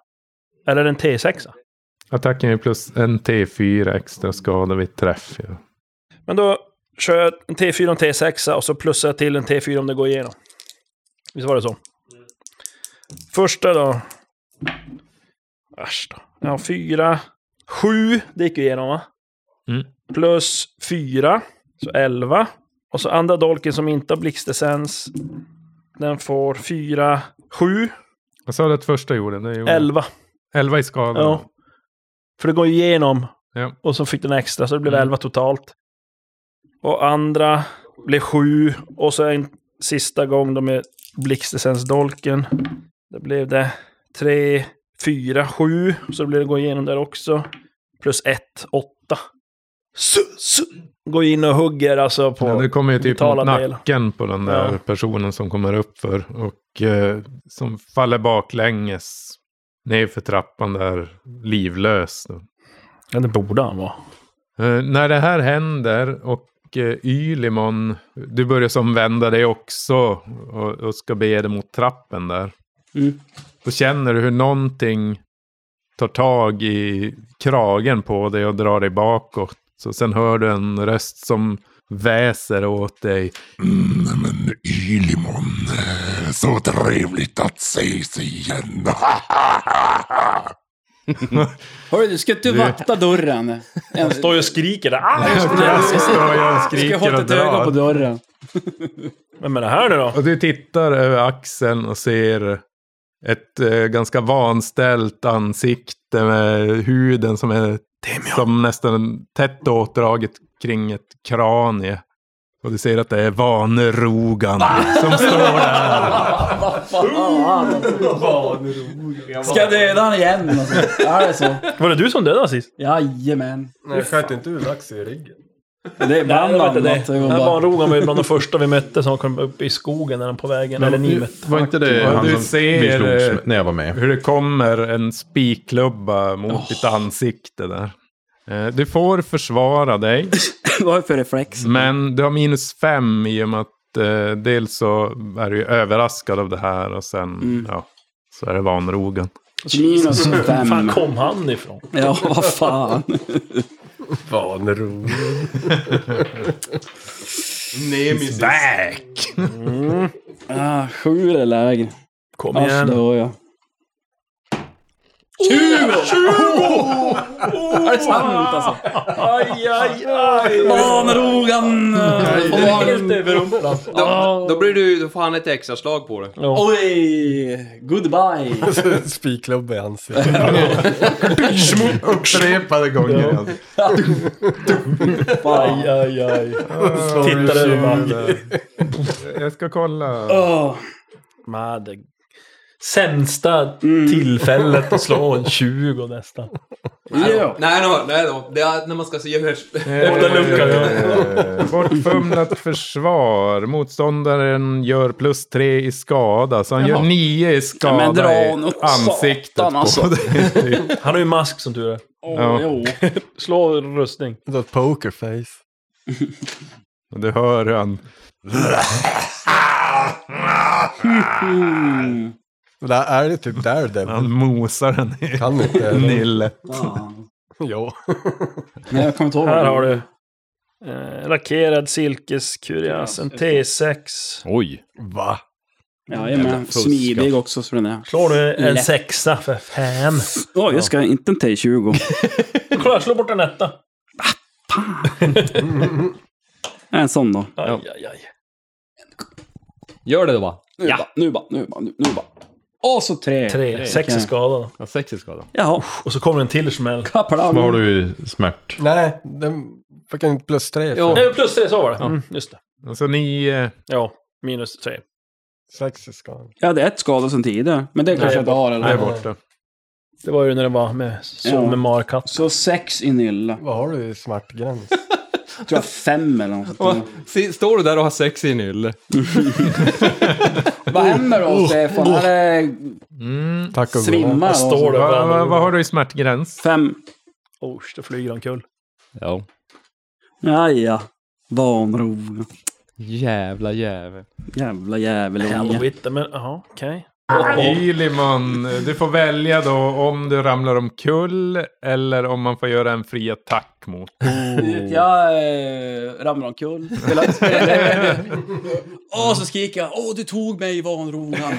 S3: Eller en T6?
S2: Attacken är plus en T4 extra skada vid träff. Ja.
S3: Men då kör jag en T4 och en T6 och så plussar jag till en T4 om det går igenom. Visst var det så? Första då. Äsch då. Jag har fyra. Sju, det gick ju igenom va?
S2: Mm.
S3: Plus fyra, så elva. Och så andra dolken som inte har blixtessens. Den får 4, 7,
S2: Jag sa det första jag gjorde. Det gjorde
S3: 11.
S2: 11 i skada.
S3: Ja. För det går ju igenom.
S2: Ja.
S3: Och så fick den extra, så det blev 11 totalt. Och andra blev 7. Och så en sista gång då med blixtessensdolken. Då blev det 3, 4, 7. Så blev det gå igenom där också. Plus 1, 8. Går in och hugger alltså på...
S2: Ja, det kommer ju typ
S3: vitala
S2: mot
S3: delar.
S2: nacken på den där
S3: Ja.
S2: personen som kommer upp för och eh, som faller baklänges nerför trappan där livlös. Då.
S3: Ja, det borde han vara.
S2: Eh, när det här händer och eh, Ylimon, du börjar som vända dig också och, och ska bege dig mot trappen där.
S6: Mm.
S2: Då känner du hur någonting tar tag i kragen på dig och drar dig bakåt. Så sen hör du en röst som väser åt dig.
S9: Mm, nej men Ylimon, eh, så trevligt att ses igen.
S6: Hörru, du ska inte vakta dörren. En
S3: Står ju och skriker där. Ah!
S2: står jag och
S6: Du ska
S2: skriker
S6: hålla
S2: och
S6: ett öga på
S2: drar.
S6: dörren.
S3: Vem är det här nu då?
S2: Och du tittar över axeln och ser ett eh, ganska vanställt ansikte med huden som är som nästan tätt åtdraget kring ett kranie. Och du ser att det är Vanerogan
S6: Ah!
S2: som står där.
S6: Ska jag döda honom igen? Alltså. Ja, det är så.
S3: Var det du som dödade sist?
S6: Jajamän.
S5: Nej, jag sköt inte ur lax i ryggen.
S6: Det är
S3: Nej,
S6: bland
S3: det var inte
S6: annat.
S3: det.
S6: Det
S3: Den
S6: var
S3: här
S6: bara-
S3: barnrogan var ju bland de första vi mötte som kom upp i skogen när den på vägen. eller ni mötte.
S7: Var inte det
S2: Ja,
S7: han
S2: du
S7: som
S2: ser,
S7: vi slogs
S2: eh,
S7: med när jag var med?
S2: Hur det kommer en spikklubba mot ditt ansikte där. Eh, Du får försvara dig.
S6: Vad är det för reflex?
S2: Men du har minus fem i och med att eh, dels så är du ju överraskad av det här och sen
S7: Mm.
S2: ja, så är det vanrogen.
S6: Minus
S3: fan
S6: fem.
S3: kom han ifrån?
S6: Ja, vad fan.
S5: Vanro.
S6: Ah, sju är lägre.
S3: Kom
S6: Asch, det
S3: igen.
S6: var jag. Tjugo! Är det sant alltså?
S3: Oh! Aj, aj, aj.
S6: Vanrogan!
S3: Helt alltså. överrumplad.
S4: Då, då blir du, då får han ett extra slag på det.
S6: Oj! Goodbye!
S5: Spikklubba i ansiktet.
S7: Upprepade gånger. alltså.
S6: Fan.
S3: Aj, aj, aj. Tittar över marken.
S2: Eh, Jag ska kolla.
S6: Åh.
S3: Man, det sämsta tillfället att slå en 20 nästan.
S6: Ja.
S4: Nej då, nej då. Det är när man ska se hur...
S3: Öppna luckan.
S2: Eh, Bortfumlat försvar. Motståndaren gör plus tre i skada. Så han gör nio i skada
S6: men dra
S2: i
S6: åt satan,
S2: ansiktet på
S6: alltså.
S2: dig. typ.
S3: Han har ju mask som tur är.
S6: Åh, jo.
S3: Slå rustning.
S5: Det var ett pokerface.
S2: Och Du hör hur han...
S6: Mm.
S5: Det här är det typ Daredevil.
S2: Han mosar den i
S5: Kan inte.
S2: nille.
S6: Fan.
S5: Jo.
S6: Nej, jag kommer inte ihåg.
S3: Här har du. Eh, lackerad silkeskurias. En T6.
S4: Oj.
S5: Va?
S6: Jajamän. Smidig också för den där.
S3: Slår du en
S6: Lätt.
S3: sexa för fem.
S6: Oj, jag ska inte en T20.
S3: Kolla, slå bort en etta.
S6: En sån då.
S3: Aj, aj, aj.
S4: Gör det då va?
S6: Nu bara, nu bara, nu bara, nu- nu bara. Och så tre.
S3: Tre. Sex är
S6: Okej.
S3: skadad.
S4: Ja, sex i skada.
S6: Jaha.
S3: Och så kommer en till smäll.
S6: Kaplan.
S7: Vad har du i smärt?
S5: Nej, den fick en plus tre. för.
S4: Jo.
S3: Nej, plus tre, så var det. Mm, just det.
S2: Och så nio...
S3: Ja, minus tre.
S5: Sex i skadan.
S6: Jag hade ett skada sen tidigare. Men det kanske jag inte har.
S2: Det är
S6: Eller?
S2: borta.
S3: Det var ju när det var med
S6: Ja.
S3: som med markatt.
S6: Så sex i nylla.
S5: Vad har du i smärtgräns?
S6: Jag tror jag fem eller något.
S4: Va? Se- Står du där och har sex i en ylle?
S6: Vad händer då Stefan? Här är
S2: Mm.
S5: Tack och godnatt.
S6: svimmar då.
S3: Står det
S2: Vad
S3: bland
S2: vad- vad har du i smärtgräns?
S6: Fem.
S3: Ors, det Oh, flyger omkull.
S4: Ja.
S6: Aj, ja. Vanro.
S4: Jävla jävel.
S6: Jävla jävel.
S3: Helvete, men jaha, okej.
S2: Ylimon, du får välja då om du ramlar omkull eller om man får göra en fri attack mot.
S6: Jag eh, ramlar omkull. Spelar- spelar- Och så skriker jag Åh, du tog mig vanronan.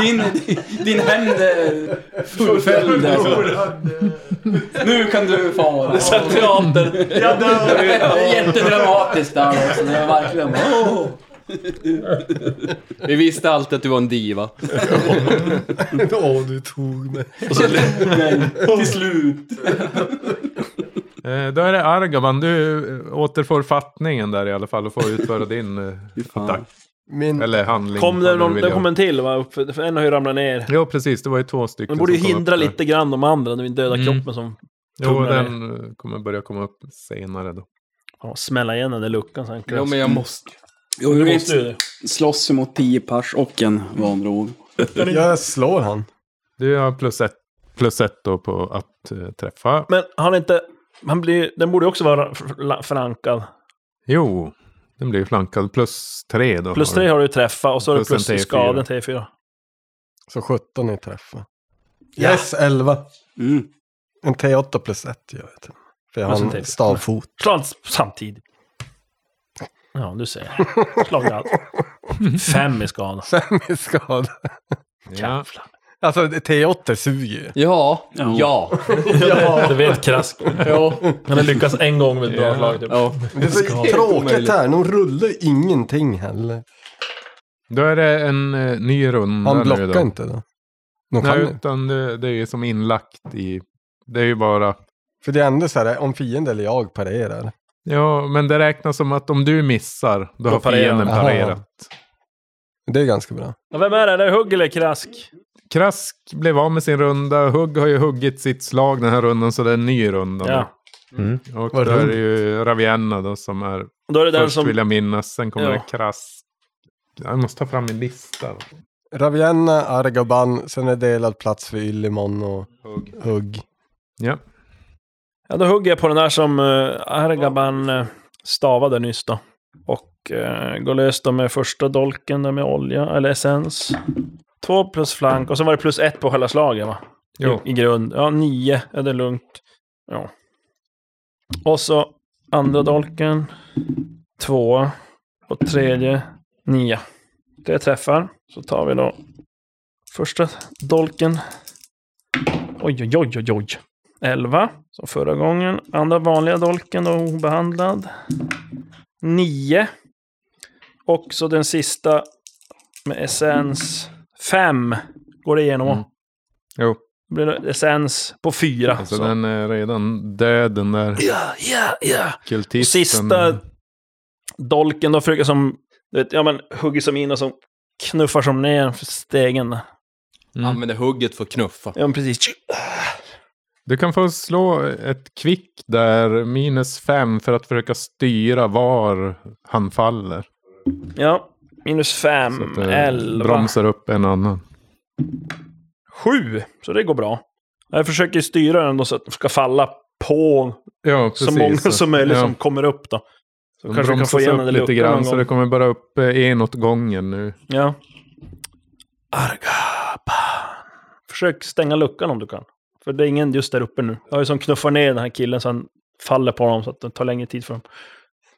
S6: din, din, din hämnd eh, fullföljd. Alltså. Nu kan du fara. Så teater. Jag dör. Jättedramatiskt där också. Det var verkligen Åh.
S4: Vi visste alltid att du var en diva.
S5: Åh, du tog mig.
S6: Och så nej, till slut.
S2: Eh, Då är det Argaban, du eh, återfår fattningen där i alla fall och får utföra din eh, attack.
S5: Min,
S2: Eller handling.
S3: Kom
S2: vad
S3: det,
S2: du
S3: någon,
S2: vill
S3: det
S2: göra.
S3: kom en till va? Upp, för en har ju ramlat ner.
S2: Ja, precis. Det var ju två stycken.
S3: Den borde ju
S2: som kom upp
S3: hindra
S2: där.
S3: lite grann de andra, den döda
S2: Mm.
S3: kroppen som
S2: Jo,
S3: tunga
S2: den eh, kommer börja komma upp senare då.
S3: ja, smälla igen den där luckan sen.
S4: Jo, men jag måste.
S6: Jo,
S3: Du
S6: vi
S3: måste ju det.
S6: slåss emot tio pers och en vanrov.
S5: jag slår han.
S2: Du har plus ett, plus ett då på att eh, träffa.
S3: Men han är inte... Han blir, den borde ju också vara fr- förankrad.
S2: Jo, den blir flankad. Plus tre då.
S3: Plus
S2: har du.
S3: tre har du träffat och så har du
S2: Plus en
S3: plus
S2: T4.
S3: skadan T4.
S5: Så 17 är träffa. Yes, 11.
S6: Mm.
S5: En T8 plus 1 gör jag till. För jag
S3: Plus en
S5: har en
S3: T4.
S5: stavfot.
S3: Slå allt samtidigt. Ja, du ser. Slå allt. Fem i skada.
S5: Sen är skada.
S2: Ja.
S5: Alltså T8 suger ju.
S4: Ja.
S6: Ja.
S4: Ja.
S3: Du vet Krask.
S4: Ja.
S3: Han har lyckats en gång med ett bra
S2: Ja.
S3: slag. Typ.
S4: ja.
S5: Det är så tråkigt
S4: Omöjligt.
S5: här. De rullar ju ingenting heller.
S3: Mm,
S2: Då är det en eh, ny runda
S5: Han
S2: nu då.
S5: blockar inte då. De kan
S2: Nej,
S5: ju.
S2: utan det, det är ju som inlagt i... Det är ju bara...
S5: För det är ändå så här, om fiende eller jag parerar.
S2: Ja, men det räknas som att om du missar, då har
S3: parerar
S2: fienden
S5: han.
S2: parerat.
S5: Det är ganska bra.
S3: Ja, vem är det? Är det Hugg eller Krask?
S2: Krask blev av med sin runda. Hugg har ju huggit sitt slag den här rundan, så det är en ny runda
S3: Ja.
S7: Mm.
S2: nu. Och
S5: Vad
S2: då är
S5: roligt.
S2: det ju Ravienna då som är
S3: Då är det den
S2: först
S3: som...
S2: vill jag minnas. Sen kommer
S3: Ja.
S2: det Krask. Jag måste ta fram min lista.
S5: Ravienna, Argaban, sen är delad plats för Yllimon och
S2: Hugg.
S5: Hugg.
S2: Ja.
S3: Ja, då hugger jag på den där som eh, Argaban eh, stavade nyss då. Och eh, går lös då med första dolken där med olja, eller essens. Två plus flank, och sen var det plus ett på själva slaget va?
S2: Jo.
S3: I, I grund. Ja, nio är det lugnt. Ja. Och så andra dolken. Två. Och tredje, nio. Det träffar. Så tar vi då första dolken. Oj, oj, oj, oj, oj. 11, som förra gången. Andra vanliga dolken då obehandlad. 9. Och så den sista med essens. 5 går det igenom.
S2: Mm. Jo,
S3: Då blir det essens på 4.
S2: alltså den är redan död den där
S3: Ja, ja, ja. Och
S2: kultisten.
S3: sista dolken då försöker som, du vet, ja men hugger som in och som knuffar som ner för stegen. där.
S4: Använde hugget för att knuffa.
S3: Ja men precis.
S2: Du kan få slå ett kvick där, minus fem, för att försöka styra var han faller.
S3: Ja, minus 5,
S2: Så att eh, det
S3: 11.
S2: bromsar upp en annan.
S3: Sju, så det går bra. Jag försöker styra den då så att den ska falla på
S2: Ja, precis.
S3: så många som möjligt
S2: Ja.
S3: som kommer upp då. Så
S2: De
S3: kanske vi kan få
S2: bromsas
S3: igenom
S2: upp
S3: den
S2: lite
S3: luckan
S2: grann
S3: någon
S2: så det
S3: gång.
S2: kommer bara upp eh, en åt gången nu.
S3: Ja. Argaban. Försök stänga luckan om du kan. För det är ingen just där uppe nu. Jag har ju som knuffar ner den här killen så han faller på honom så att det tar längre tid för honom.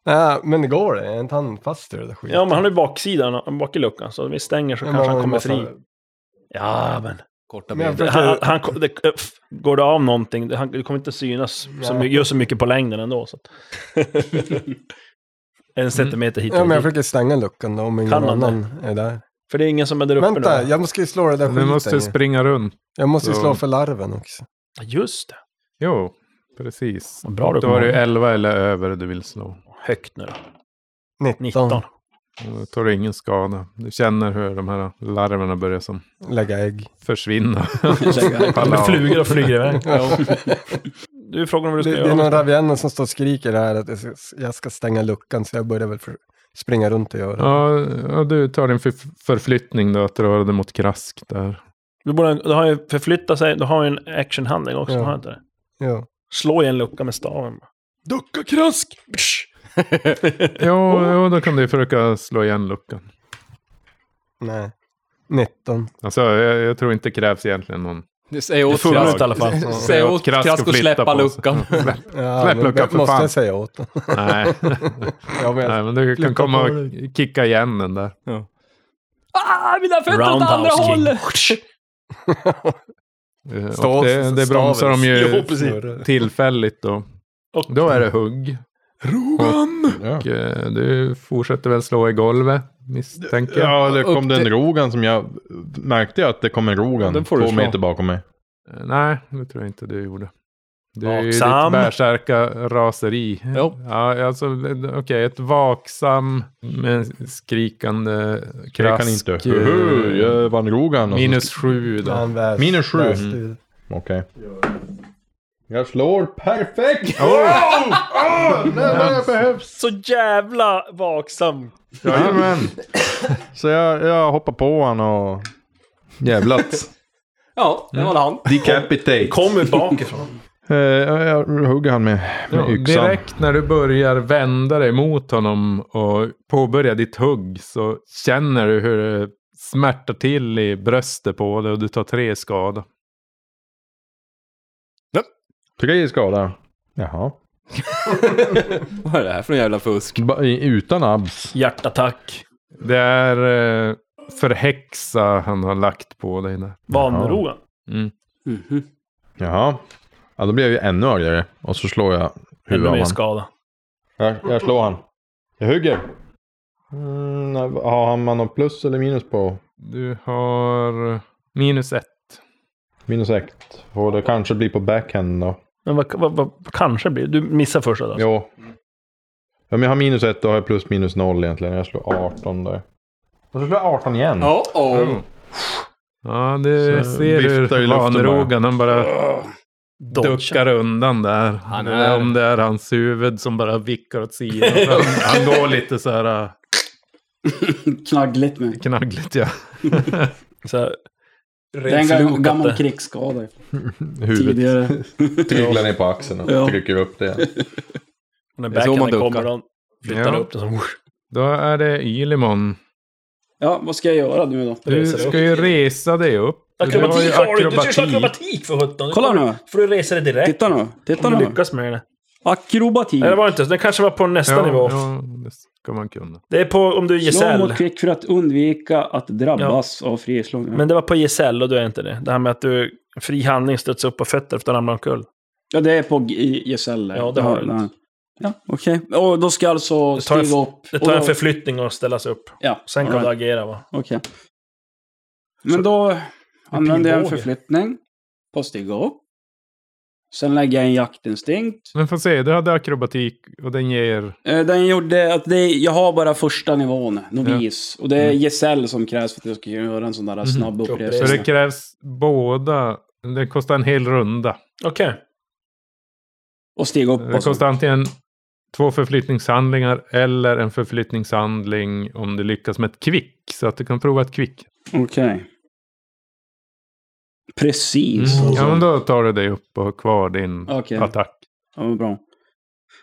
S5: Nej, men det går det. Är inte han fast i det där skiten?
S3: Ja, men han är ju baksidan, bak i luckan. Så vi stänger så
S5: Men
S3: kanske han
S5: har en
S3: kommer
S5: massa-
S3: fri. Ja, men.
S4: Korta
S5: Men jag
S4: ben.
S5: försöker-
S3: Han, han, det, f- går det av någonting, det- han, du kommer inte synas så,
S5: Nej.
S3: my- gör så mycket på längden ändå. Så. att- en centimeter hit och
S5: Mm. Ja, men jag
S3: dit.
S5: försöker stänga luckan då om ingen
S3: Kan han det?
S5: annan är där.
S3: För det är ingen som är där uppe
S5: Vänta,
S3: nu.
S5: jag måste ju slå det där
S2: Du
S5: skiten.
S2: måste
S5: ju.
S2: springa runt.
S5: jag måste ju
S2: så-
S5: slå för larven också.
S3: Just det.
S2: Jo, precis.
S3: Vad bra du
S2: Då var det ju
S3: kommer
S2: 11 eller över du vill slå.
S3: Högt nu då.
S5: 19.
S3: 19.
S2: Och Då tar du ingen skada. Du känner hur de här larverna börjar som
S5: Lägga ägg.
S2: försvinna. Falla
S3: Det
S2: av.
S3: flyger och flyger iväg. Du frågar om vad
S5: Det,
S3: du ska
S5: det är
S3: göra.
S5: någon ravienna som står och skriker här att jag ska- jag ska stänga luckan så jag börjar väl för, springa runt och göra det.
S2: Ja, ja, du tar din förf- förflyttning då, att röra dig mot krask där.
S3: Du, borde, du har ju förflyttat sig, du har ju en actionhandling också,
S5: Ja.
S3: har du inte det?
S5: Ja.
S3: Slå i en lucka med staven.
S4: Ducka krask!
S2: Jo, jo, då kan du ju försöka slå igen luckan.
S5: Nej. 19.
S2: Alltså, jag, jag tror inte det krävs egentligen någon
S4: Det säger åt
S3: funnits
S4: Krask.
S3: i alla fall.
S4: Säg åt Krask att
S2: flytta
S4: släppa
S2: på sig.
S4: luckan.
S5: Ja,
S2: Släpp
S5: men
S2: luckan för
S5: Måste
S2: fan.
S5: jag säga åt honom?
S2: Nej.
S5: Jag menar,
S2: Nej, men du kan
S5: Flytta
S2: komma
S5: på
S2: och kicka igen den där.
S4: ah, mina fötter åt andra
S3: Roundhouse king.
S4: hållet!
S2: Eh,
S5: Stå-
S2: och det, det bromsar de
S5: staven.
S2: ju
S5: Jo, precis.
S2: tillfälligt då.
S3: Och-
S2: Då är det hugg.
S9: Rogan!
S7: Ja.
S2: Och, eh, Du fortsätter väl slå i golvet, misstänker jag.
S7: Ja, det kom
S4: Upp
S7: den
S4: till-
S7: Rogan som jag märkte jag att det kom en Rogan.
S4: Den får du
S7: två
S4: slå.
S7: meter bakom mig.
S2: Eh, Nej, det tror jag inte du gjorde. Det är ju ditt
S3: Vaksam.
S2: bärsärka-raseri.
S4: Jo.
S2: Ja, alltså, okej, ett vaksam men skrikande
S7: Jag
S2: krask.
S7: kan inte.
S2: eh,
S7: Huhu, jag vann Rogan. och så-
S2: Minus sju då.
S5: han väs-
S7: Minus sju.
S5: väste
S7: Mm.
S5: ur.
S7: Okej. Jag slår perfekt! Ah, Oh! nej, nej, jag behövs.
S3: Så jävla vaksam.
S7: Jajamän. Så jag, jag hoppar på han och... Jävlat.
S4: Ja, det var han.
S7: Decapitate.
S3: Kommer bakifrån.
S7: Eh, jag, jag hugger han med, med
S2: Ja,
S7: yxan.
S2: direkt när du börjar vända dig mot honom och påbörja ditt hugg så känner du hur det smärtar till i bröstet på dig och du tar tre skada.
S7: Tre skada. Jaha.
S4: Vad är det här för en jävla fusk?
S7: Ba, i- utan abs.
S3: Hjärtattack.
S2: Det är eh, förhäxa han har lagt på dig. Där.
S3: Vanroan.
S6: Mhm.
S7: Jaha. Ja, då blir jag ju ännu argare. Och så slår jag
S3: Ännu
S7: huvudet av
S3: mer
S7: honom.
S3: skada.
S7: Jag, jag slår han. Jag hugger. Mm, har han man någon plus eller minus på?
S2: Du har minus ett.
S7: Minus ett. Och det kanske blir på backhand då.
S3: Men vad, vad, vad kanske blir Du missar första då.
S7: Jo. Om jag har minus ett då har jag plus minus noll egentligen. Jag slår 18 där. Och så slår jag 18 igen.
S4: Oh, oh.
S2: Ja, du
S7: Så
S2: ser
S7: viftar i
S2: hur
S7: luften bara.
S2: vanrogan han bara duckar undan där.
S4: Han
S2: Eller
S4: är-
S2: Om det är hans huvud som bara vickar åt sidan. Han, han går lite så här eh,
S6: Knaggligt med.
S2: knaggligt ja.
S3: Så här,
S6: Det är en gam-
S3: Renflokat
S6: gammal
S3: det.
S6: krigsskada.
S7: Huvudet
S6: Tidigare.
S7: trillar ner på axeln och
S6: Ja.
S7: trycker upp det. igen.
S3: när
S4: Det är så man
S3: backhanden
S4: duckar.
S3: kommer de flyttar
S2: Ja.
S3: upp den som...
S2: Då är det Ylimon.
S6: Ja, vad ska jag göra nu då?
S2: Du ska ju resa dig upp.
S3: Akrobatik har du! Du ska köra akrobatik för sjutton!
S6: Kolla nu.
S3: får du resa dig direkt.
S6: Titta nu. Titta
S3: Om du
S6: nu.
S3: lyckas med det.
S6: Akrobatik.
S3: Nej, det var inte. Den kanske var på nästa
S2: Ja,
S3: nivå.
S2: ja, det ska man kunna.
S3: Det är på om du är
S6: Slå
S3: gesäll.
S6: mot kvick för att undvika att drabbas av frislag.
S3: Men det var på gesäll och du är inte det. Det här med att du fri handling stöts upp på fötter efter att ramla omkull.
S6: Ja, det är på G- i Gesell.
S3: Ja, det har du
S6: Ja, ja, okej. Och då ska jag alltså
S3: Det tar en-
S6: stiga upp.
S3: Det
S6: och
S3: tar
S6: då,
S3: en förflyttning och ställas upp.
S6: Ja,
S3: Sen kan
S6: all
S3: du
S6: right,
S3: agera va?
S6: Okej. Men då använder jag en
S3: pilbåge.
S6: förflyttning på att stiga upp. Sen lägger jag en jaktinstinkt.
S2: Men får se, du hade akrobatik och den ger...
S6: Eh, Den gjorde att det, jag har bara första nivån, novis. Och det
S2: Mm.
S6: är gesell som krävs för att jag ska göra en sån
S2: Mhm.
S6: där snabb
S2: Så det
S6: uppresning.
S2: krävs båda. Det kostar en hel runda.
S3: Okej.
S6: Och stiga upp. alltså.
S2: Det
S6: och så.
S2: kostar antingen Eh, två förflyttningshandlingar eller en förflyttningshandling om du lyckas med ett kvick. Så att du kan prova ett kvick.
S6: Okej. Precis.
S2: Mm.
S6: alltså.
S2: Ja, men då tar du dig upp och har kvar din
S6: Mm. Okej.
S2: attack.
S6: Ja, men bra.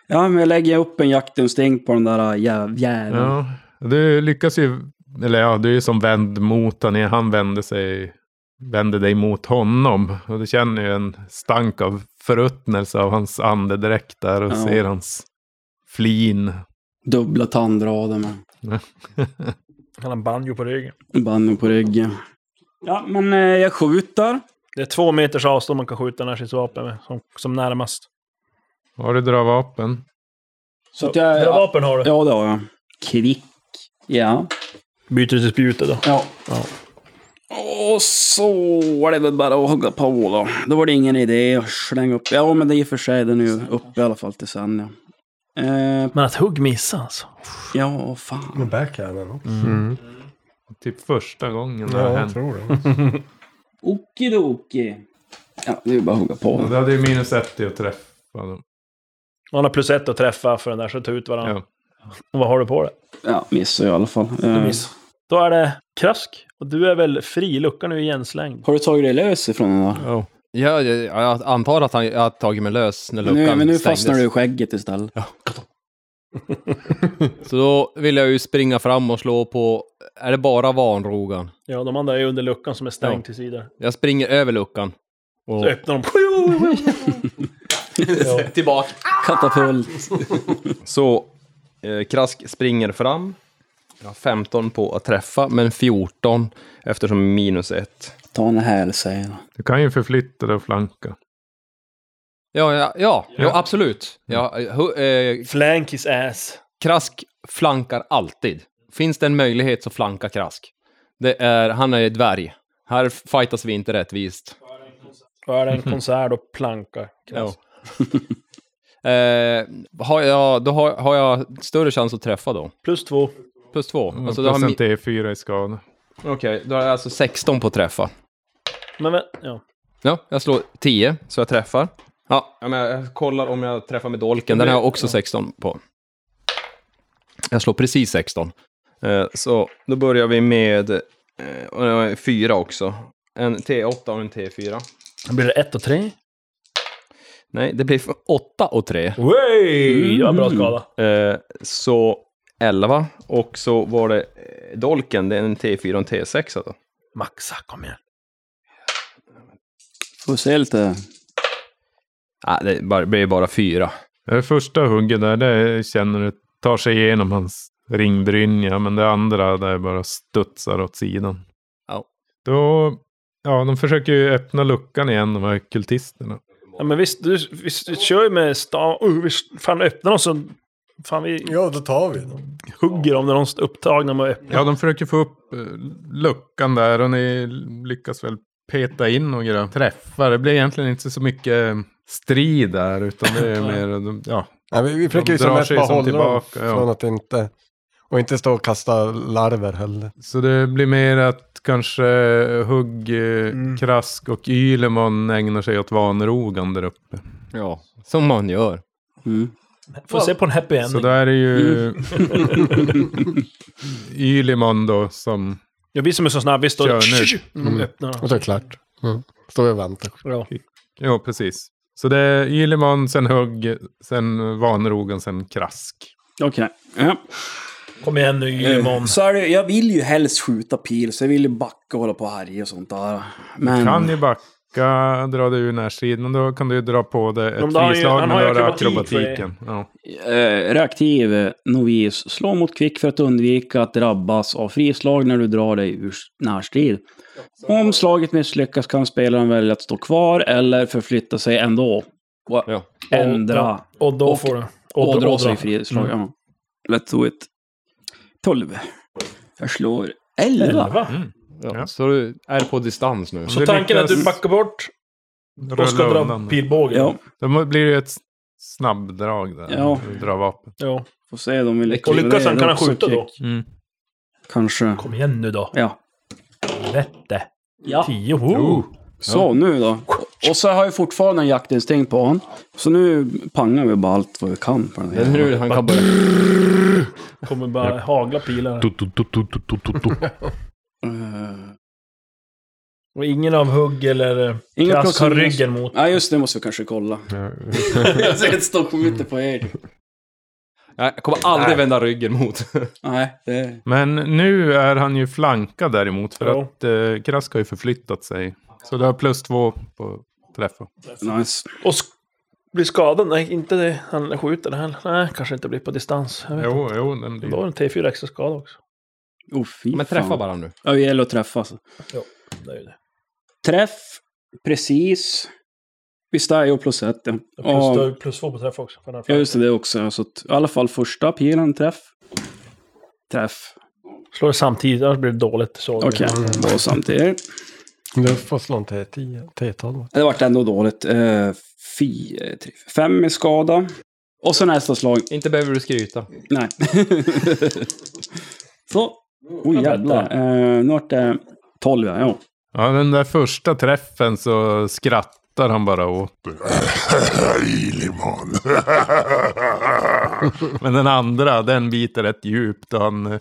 S6: Ja, men jag lägger upp en jaktinstinkt på den där äh, jäv- jäveln.
S2: Ja, du lyckas ju, eller ja, du är ju som vänd mot honom. Han vände sig, vände dig mot honom. Och du känner ju en stank av förruttnelse av hans andedräkt där och
S6: Ja.
S2: ser hans flin.
S6: Dubbla tandrader med
S3: Han har en banjo på ryggen.
S6: banden på ryggen. Ja, men eh, jag skjuter.
S3: Det är två meters avstånd man kan skjuta närstridsvapen med. Som, som närmast.
S2: Har du drar vapen?
S6: Så att jag...
S3: Vilka
S6: Ja,
S3: vapen har du?
S6: ja, det har jag. Kvick. Ja.
S3: Byter du till spjutet då?
S6: Ja. Och så var det väl bara att hugga på då. Då var det ingen idé att slänga upp. Ja, men det är i och för sig den är ju uppe i alla fall till sen. Ja, eh,
S3: Men att hugg missar alltså.
S6: ja fan.
S5: Med backhanden också.
S2: Typ första gången det
S5: Ja,
S2: har
S5: jag
S2: hänt.
S5: tror det.
S6: Okidoki. Ja, det är ju bara att hugga på.
S2: Och det hade ju minus ett i att träffa dem.
S3: Man har plus ett att träffa för den där, så ta ut varandra.
S2: Ja.
S3: Och vad har du på det?
S6: Ja, missar jag i alla fall. Eh,
S3: miss. Då är det krask. Och du är väl fri? Luckan är ju igenslängd.
S6: Har du tagit dig lös ifrån den där?
S4: Ja, jag, jag antar att han jag har tagit mig lös när luckan
S6: Nu, men nu
S4: stängdes.
S6: fastnar du i skägget istället.
S4: Så då vill jag ju springa fram och slå på... Är det bara vanrogan?
S3: Ja, de andra är under luckan som är stängd
S4: Ja.
S3: till sidan.
S4: Jag springer över luckan.
S3: Så öppnar de.
S4: Tillbaka.
S6: Katapult.
S4: Så eh, Krask springer fram. Jag har 15 på att träffa, men 14 eftersom minus 1.
S6: Ta en hälsena.
S2: Du kan ju förflytta dig och flanka.
S4: Ja, ja, ja, ja. absolut. Ja, eh, hu- eh,
S3: Flank his ass.
S4: krask flankar alltid. Finns det en möjlighet så flanka Krask. Det är, han är dvärg. Här fightas vi inte rättvist.
S3: För en konsert och plankar.
S4: Ja. eh, har jag, då har, har jag större chans att träffa då.
S3: Plus två.
S4: Plus två.
S2: Mm,
S4: Alltså, då har
S2: plus en
S4: mi-
S2: T4 i skada.
S4: Okej, då har jag alltså 16 på att träffa.
S3: Men, men, ja.
S4: Ja, jag slår 10, så jag träffar. Ja, ja, men jag kollar om jag träffar med dolken. Den har jag också 16 på. Jag slår precis 16. Eh, Så då börjar vi med eh, och det var fyra också. En T8 och en T4.
S3: Då blir det ett och tre.
S4: Nej, det blir för 8 och 3.
S3: Wey! Ja, bra skada.
S4: Eh, Så 11. Och så var det eh, dolken, det är en T4 och en alltså. T6 då.
S3: Maxa, kom igen.
S6: Får se lite.
S4: Nej, det är bara- blir bara fyra.
S2: Det första hugget där, det känner du tar sig igenom hans ringbrynja. Men det andra, där bara studsar åt sidan.
S4: Ja.
S2: Då, ja, de försöker ju öppna luckan igen, de här kultisterna.
S3: Ja, men visst, du, visst, du kör ju med stav... Uh, vi fan, öppna dem så... Fan, vi
S5: Ja, då tar vi dem.
S3: hugger om när de är upptagna med att öppna.
S2: Ja, de försöker få upp eh, luckan där och ni lyckas väl peta in några träffar. Det blir egentligen inte så mycket strid där, utan det är mer... de- Ja,
S5: Ja, vi, vi försöker
S2: De
S5: ju som
S2: drar
S5: mest
S2: sig
S5: bara
S2: som
S5: hålla dem
S2: tillbaka, ja.
S5: från att inte... Och inte stå och kasta larver heller.
S2: Så det blir mer att kanske Hugg, eh, Krask och Ylemon ägnar sig åt vanrogan där uppe.
S4: Ja, som man gör.
S6: Mm.
S3: Får se på en happy
S2: Så
S3: ending.
S2: där är ju Ylemon då som
S3: Ja, vi som är så snabba, vi står...
S2: Kör nu.
S3: Mm. de Öppnar
S5: Och så är det klart. Mm. Står vi och väntar.
S3: Bra.
S2: Ja, precis. Så det är Ylemon, sen Hugg, sen Vanrogan, sen Krask.
S6: Okej. Ja.
S3: Kom igen
S6: Eh.
S3: nu, Ylmon.
S6: Så är det, jag vill ju helst skjuta pil, så jag vill ju backa och hålla på och härja och sånt där. Men...
S2: Kan ju backa, dra dig ur närsidan, men då kan du ju dra på dig ett
S3: Men då har han ju-
S2: frislag
S3: han
S2: med
S3: har ju
S2: röra
S3: akrobatik för det.
S2: akrobatiken. Ja.
S6: Eh, reaktiv eh, novis. Slå mot kvick för att undvika att drabbas av frislag när du drar dig ur s- närstrid. Om slaget misslyckas kan spelaren välja att stå kvar eller förflytta sig ändå. Och
S4: Ja.
S6: Ändra.
S3: Och då
S6: Och-
S3: får du...
S6: Och, dra Mm. sig
S3: dra.
S6: i frislag. Ja. Let's do it. 12. Jag slår 11.
S3: Elva.
S4: Ja,
S2: Ja.
S4: Så du är på distans nu.
S3: Så tanken är att du backar bort och ska
S2: Rulla
S3: dra
S2: undan.
S3: pilbågen?
S6: Ja,
S2: Då må- blir det ju ett s- snabbdrag där.
S6: Ja.
S2: när du Drar vapen.
S3: ja.
S6: får se om vi lyckas.
S3: Och lyckas han
S6: Det
S3: kan han
S6: också
S3: skjuta då?
S6: kvick. Kanske.
S3: Kom igen nu då.
S6: Ja.
S3: Lätt det.
S6: Ja.
S3: Tio. Oh.
S6: Så, nu då. Och så har jag fortfarande en jaktinstinkt på honom. Så nu pangar vi bara allt vad vi kan på den
S4: Det är
S6: här.
S4: nu han kan börja...
S3: Kommer bara hagla pilar.
S6: Eh,
S3: Och ingen av hugg eller eh,
S6: Inga
S3: krask har
S6: plus-
S3: ryggen mot.
S6: Nej, just det måste vi kanske kolla. jag ser ett stopp ute på er.
S4: Nej, jag kommer aldrig vända ryggen mot.
S6: Nej, det...
S2: Men nu är han ju flankad däremot för
S3: Ja.
S2: att eh, Krask har ju förflyttat sig. Så du har plus två på träffa.
S6: Nice.
S3: Och sk- blir skadad? Nej, inte det. Han skjuter det heller. Nej, kanske inte blir på distans. Jag vet.
S2: Jo, jo, den
S3: Då
S2: blir...
S3: är det en T4 extra skada också.
S6: Oh, fy
S4: Men träffa
S6: fan.
S4: bara nu.
S6: Ja, det gäller att träffa. Alltså.
S3: Det är ju det.
S6: Träff, precis. Visst är jag plus ett, ja.
S3: Och Plus,
S6: Ja,
S3: du har ju plus två på träff också. För den här
S6: ja, just det, det också. Så att, i alla fall första pilen, träff. Träff.
S3: Slår det samtidigt, annars blir det dåligt. Så
S6: Okej, då samtidigt.
S5: Du får slå en T10, T12.
S6: Det vart ändå dåligt. Eh, fy, eh, tre, fem i skada. Och så nästa slag.
S4: Inte behöver du skryta.
S6: Nej. så. Oj, jävlar. Eh, nu vart det tolv, ja. ja.
S2: Ja, den där första träffen så skrattar han bara åt.
S9: Ilimon.
S2: Men den andra, den biter rätt djupt och han eh,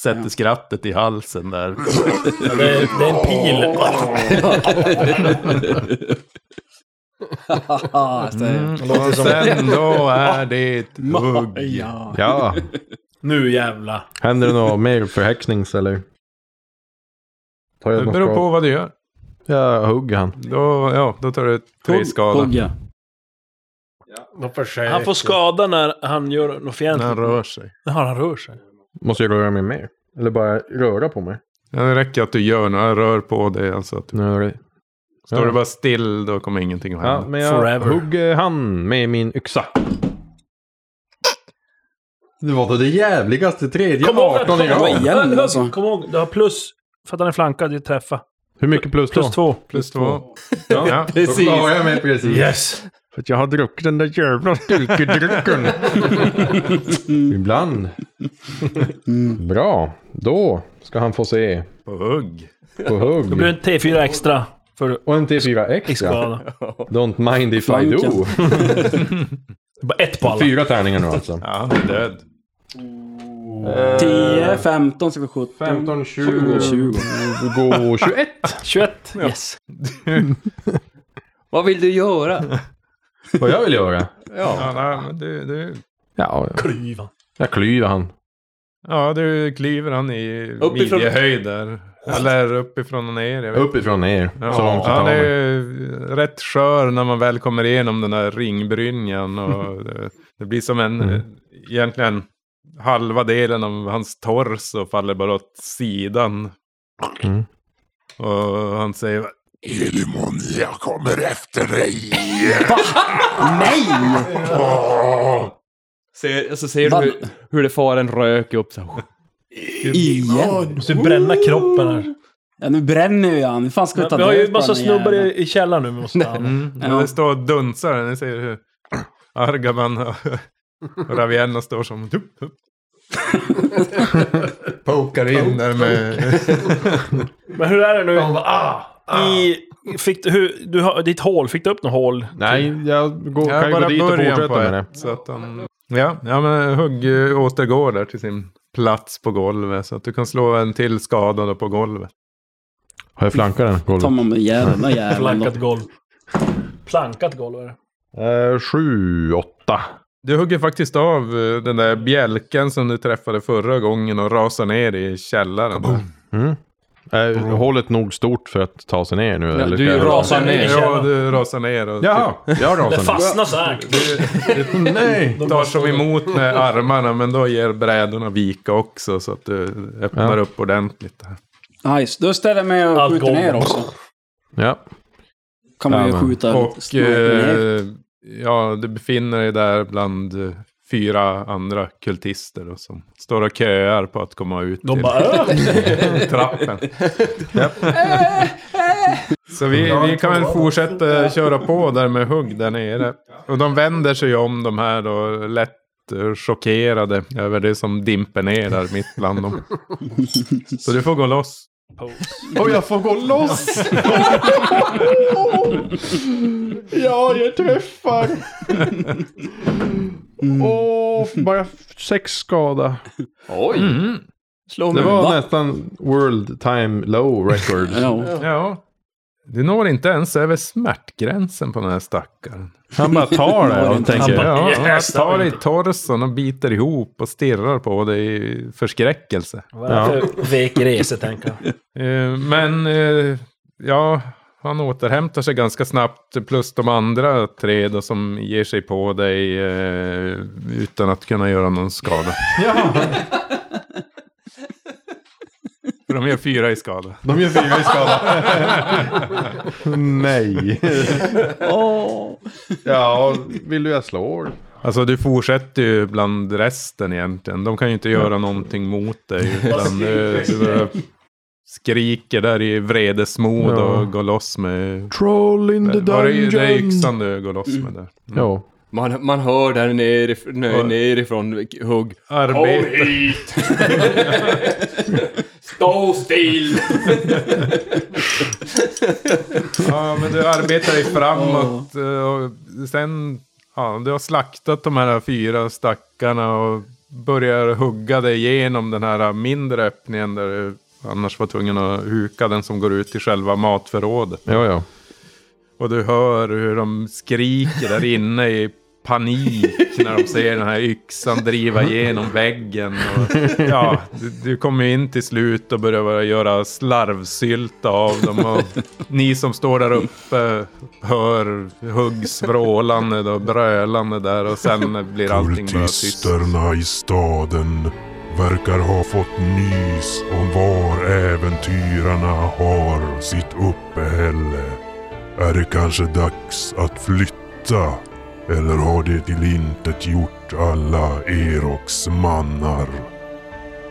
S2: sätter
S6: Ja.
S2: skrattet i halsen där.
S3: Det, är- det är en pil.
S2: Mm. Och sen då är det ett hugg.
S6: Ja.
S7: Ja,
S3: Nu jävla.
S7: händer det något mer förhäxnings eller? Tar
S2: Det
S7: jag något
S2: beror
S7: skada?
S2: på vad du gör.
S7: Jag hugger han.
S2: Då, ja, då tar du tre
S6: Hugg-
S2: skada.
S6: Hugga.
S5: De försöker.
S3: Han får skada när han gör något
S2: När han
S3: fientligt.
S2: rör sig.
S3: När han rör sig.
S7: Måste jag röra mig mer? Eller bara röra på mig?
S2: Ja, det räcker att du gör något. Jag rör på dig. Alltså att du,
S7: Nej, det-
S2: står
S7: Ja.
S2: du bara still då kommer ingenting att
S7: Ja,
S2: hända.
S7: men jag
S3: Forever.
S7: hugger han med min yxa. Det var då det jävligaste tredje
S3: Kom ihåg, att- kom,
S6: igång.
S3: ihåg-
S6: Igen, alltså.
S3: kom ihåg, du har plus. För att han är flankad, du träffa.
S7: Hur mycket plus,
S3: Plus
S7: då?
S3: två.
S2: Plus två.
S7: Ja.
S2: Ja.
S7: Precis. Då klarar jag mig precis.
S3: Yes!
S7: För att jag har druckit den där jävla styrkedrycken. Ibland. Mm. Bra. Då ska han få se
S2: På hugg.
S7: på
S3: Då blir det
S7: hugg.
S3: en T4 extra för
S7: Och en T4
S3: i
S7: extra.
S3: skada.
S7: Don't mind if I do.
S3: Det är Bara ett på alla.
S7: Fyra tärningar nu alltså.
S2: Ja, han är död.
S6: 10, 15, så vi 17.
S7: 15, 20,
S6: 20.
S7: 21.
S3: 21. Yes.
S4: Vad vill du göra?
S7: Vad jag vill göra?
S2: Ja, nej, men du, du,
S7: Ja, ja. jag klyver han.
S2: ja, du kliver han i
S4: Uppifrån-
S2: midjehöjd där. Eller uppifrån och ner. Jag vet.
S7: Uppifrån ner. Så långt jag
S2: han
S7: tar
S2: är
S7: mig.
S2: ju rätt skör när man väl kommer igenom den där ringbrynjan. Och det, det blir som en,
S7: Mm.
S2: eh, egentligen halva delen av hans torso faller bara åt sidan.
S7: Mm.
S2: Och han säger,
S9: Elimon, jag kommer efter dig.
S6: Nej!
S4: Ser, så ser du hur, hur det far en rök upp. Så. här.
S6: Igen?
S3: Måste ju bränna kroppen här.
S6: Ja, nu bränner vi han. Hur fan ska vi ta
S3: Vi har ju
S6: död på
S3: massa
S6: den
S3: snubbar
S6: jäveln?
S3: i, i källaren nu. vi Måste ta hand om.
S2: mm.
S6: Ja.
S2: det står och dunsar. Ni ser hur Argaban och och Ravienna står som... Dup, dup. Pokar in där med...
S3: Men hur är det nu? I, fick du, hur, du, har- ditt hål, fick du upp något hål?
S7: Nej, jag går, kan ju gå dit
S2: början
S7: och fortsätta
S2: på
S7: med det.
S2: ett, Så att han, ja, ja, men Hugg eh, återgår där till sin plats på golvet. Så att du kan slå en till skada då på golvet.
S7: Har jag flankat den?
S6: Tar
S7: Golvet?
S6: man med jäveln,
S7: Mm.
S6: den jäveln då.
S3: Plankat golv. Plankat golv är det.
S7: Eh, sju, åtta.
S2: Du hugger faktiskt av eh, den där bjälken som du träffade förra gången och rasar ner i källaren.
S7: Mm. Eh, hålet nog stort för att ta sig ner nu? eller
S4: du
S7: ska jag-
S4: rasar
S3: ner i
S2: Ja,
S3: källaren.
S2: du rasar ner och
S7: Jaha, jag
S3: Det
S7: rasar ner.
S3: fastnar så här.
S7: Nej!
S2: typ tar som emot med armarna. Men då ger brädorna vika också så att du öppnar
S7: Ja.
S2: upp ordentligt. här.
S6: Nice, då ställer jag mig och
S3: Allt
S6: skjuter
S3: går.
S6: ner också.
S7: Ja.
S6: Kan man ju
S7: Ja, men.
S6: skjuta
S2: Och
S6: snabbt ner.
S2: eh, ja, du befinner dig där bland eh, fyra andra kultister då, som står och köar på att komma ut
S3: De
S2: till
S3: bara "Äh!"
S2: trappen. Så vi, vi kan väl fortsätta köra på där med hugg där nere. Och de vänder sig om de här då lätt eh, chockerade över det som dimper ner där mitt bland dem. Så du får gå loss.
S7: Och jag får gå loss! ja, jag träffar! Åh, bara sex skada.
S4: Oj!
S2: Mm.
S4: Slå
S7: Det
S4: mig.
S7: var nästan world time low record.
S6: Ja.
S2: Ja. Du når inte ens över smärtgränsen på den här stackaren.
S7: Han bara tar det och
S3: Han
S7: tänker
S3: bara-
S7: ja.
S2: Ja, han
S3: Yes,
S2: tar
S3: det var
S2: dig i
S3: inte-
S2: torson och biter ihop och stirrar på dig i förskräckelse.
S3: Varför vek rese, tänker jag.
S2: Eh, Men eh, ja, han återhämtar sig ganska snabbt. Plus de andra tre då, som ger sig på dig eh, utan att kunna göra någon skada. För de gör fyra i skada.
S7: De gör fyra i skada. Nej.
S6: Åh.
S7: Ja, vill du jag slår?
S2: Alltså du fortsätter ju bland resten egentligen. De kan ju inte göra någonting mot dig. Utan eh, du bara skriker där i vredesmod
S7: Ja.
S2: och går loss med...
S7: Troll in
S2: Där, var det, ju- det är yxan du går loss med där. Mm.
S7: Ja.
S4: Man, man hör där nerif- nö-
S2: Ja.
S4: nerifrån hugg.
S2: Arbete.
S4: Stå still!
S2: Ja, men du arbetar dig framåt. eh, Och sen, ja, du har slaktat de här fyra stackarna och börjar hugga dig igenom den här mindre öppningen där du annars var tvungen att huka den som går ut till själva matförrådet.
S7: Ja, ja.
S2: Och du hör hur de skriker där inne i panik när de ser den här yxan driva igenom väggen. Och, ja, du, du kommer ju in till slut och börjar bara göra slarvsylta av dem. Och ni som står där uppe hör huggsvrålandet och brölandet där och sen blir allting bara tyst.
S1: Kultisterna i staden verkar ha fått nys om var äventyrarna har sitt uppehälle. Är det kanske dags att flytta? Eller har det till intet gjort alla Eroks mannar?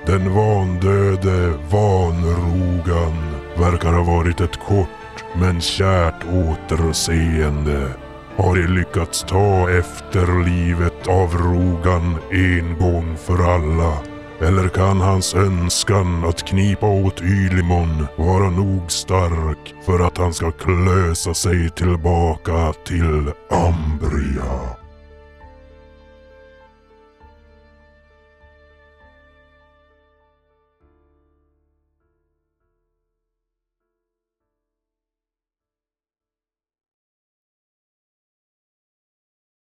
S1: Den vandöde vanrogan verkar ha varit ett kort men kärt återseende har de lyckats ta efterlivet av Rogan en gång för alla? Eller kan hans önskan att knipa åt Ylimon vara nog stark för att han ska klösa sig tillbaka till Ambria?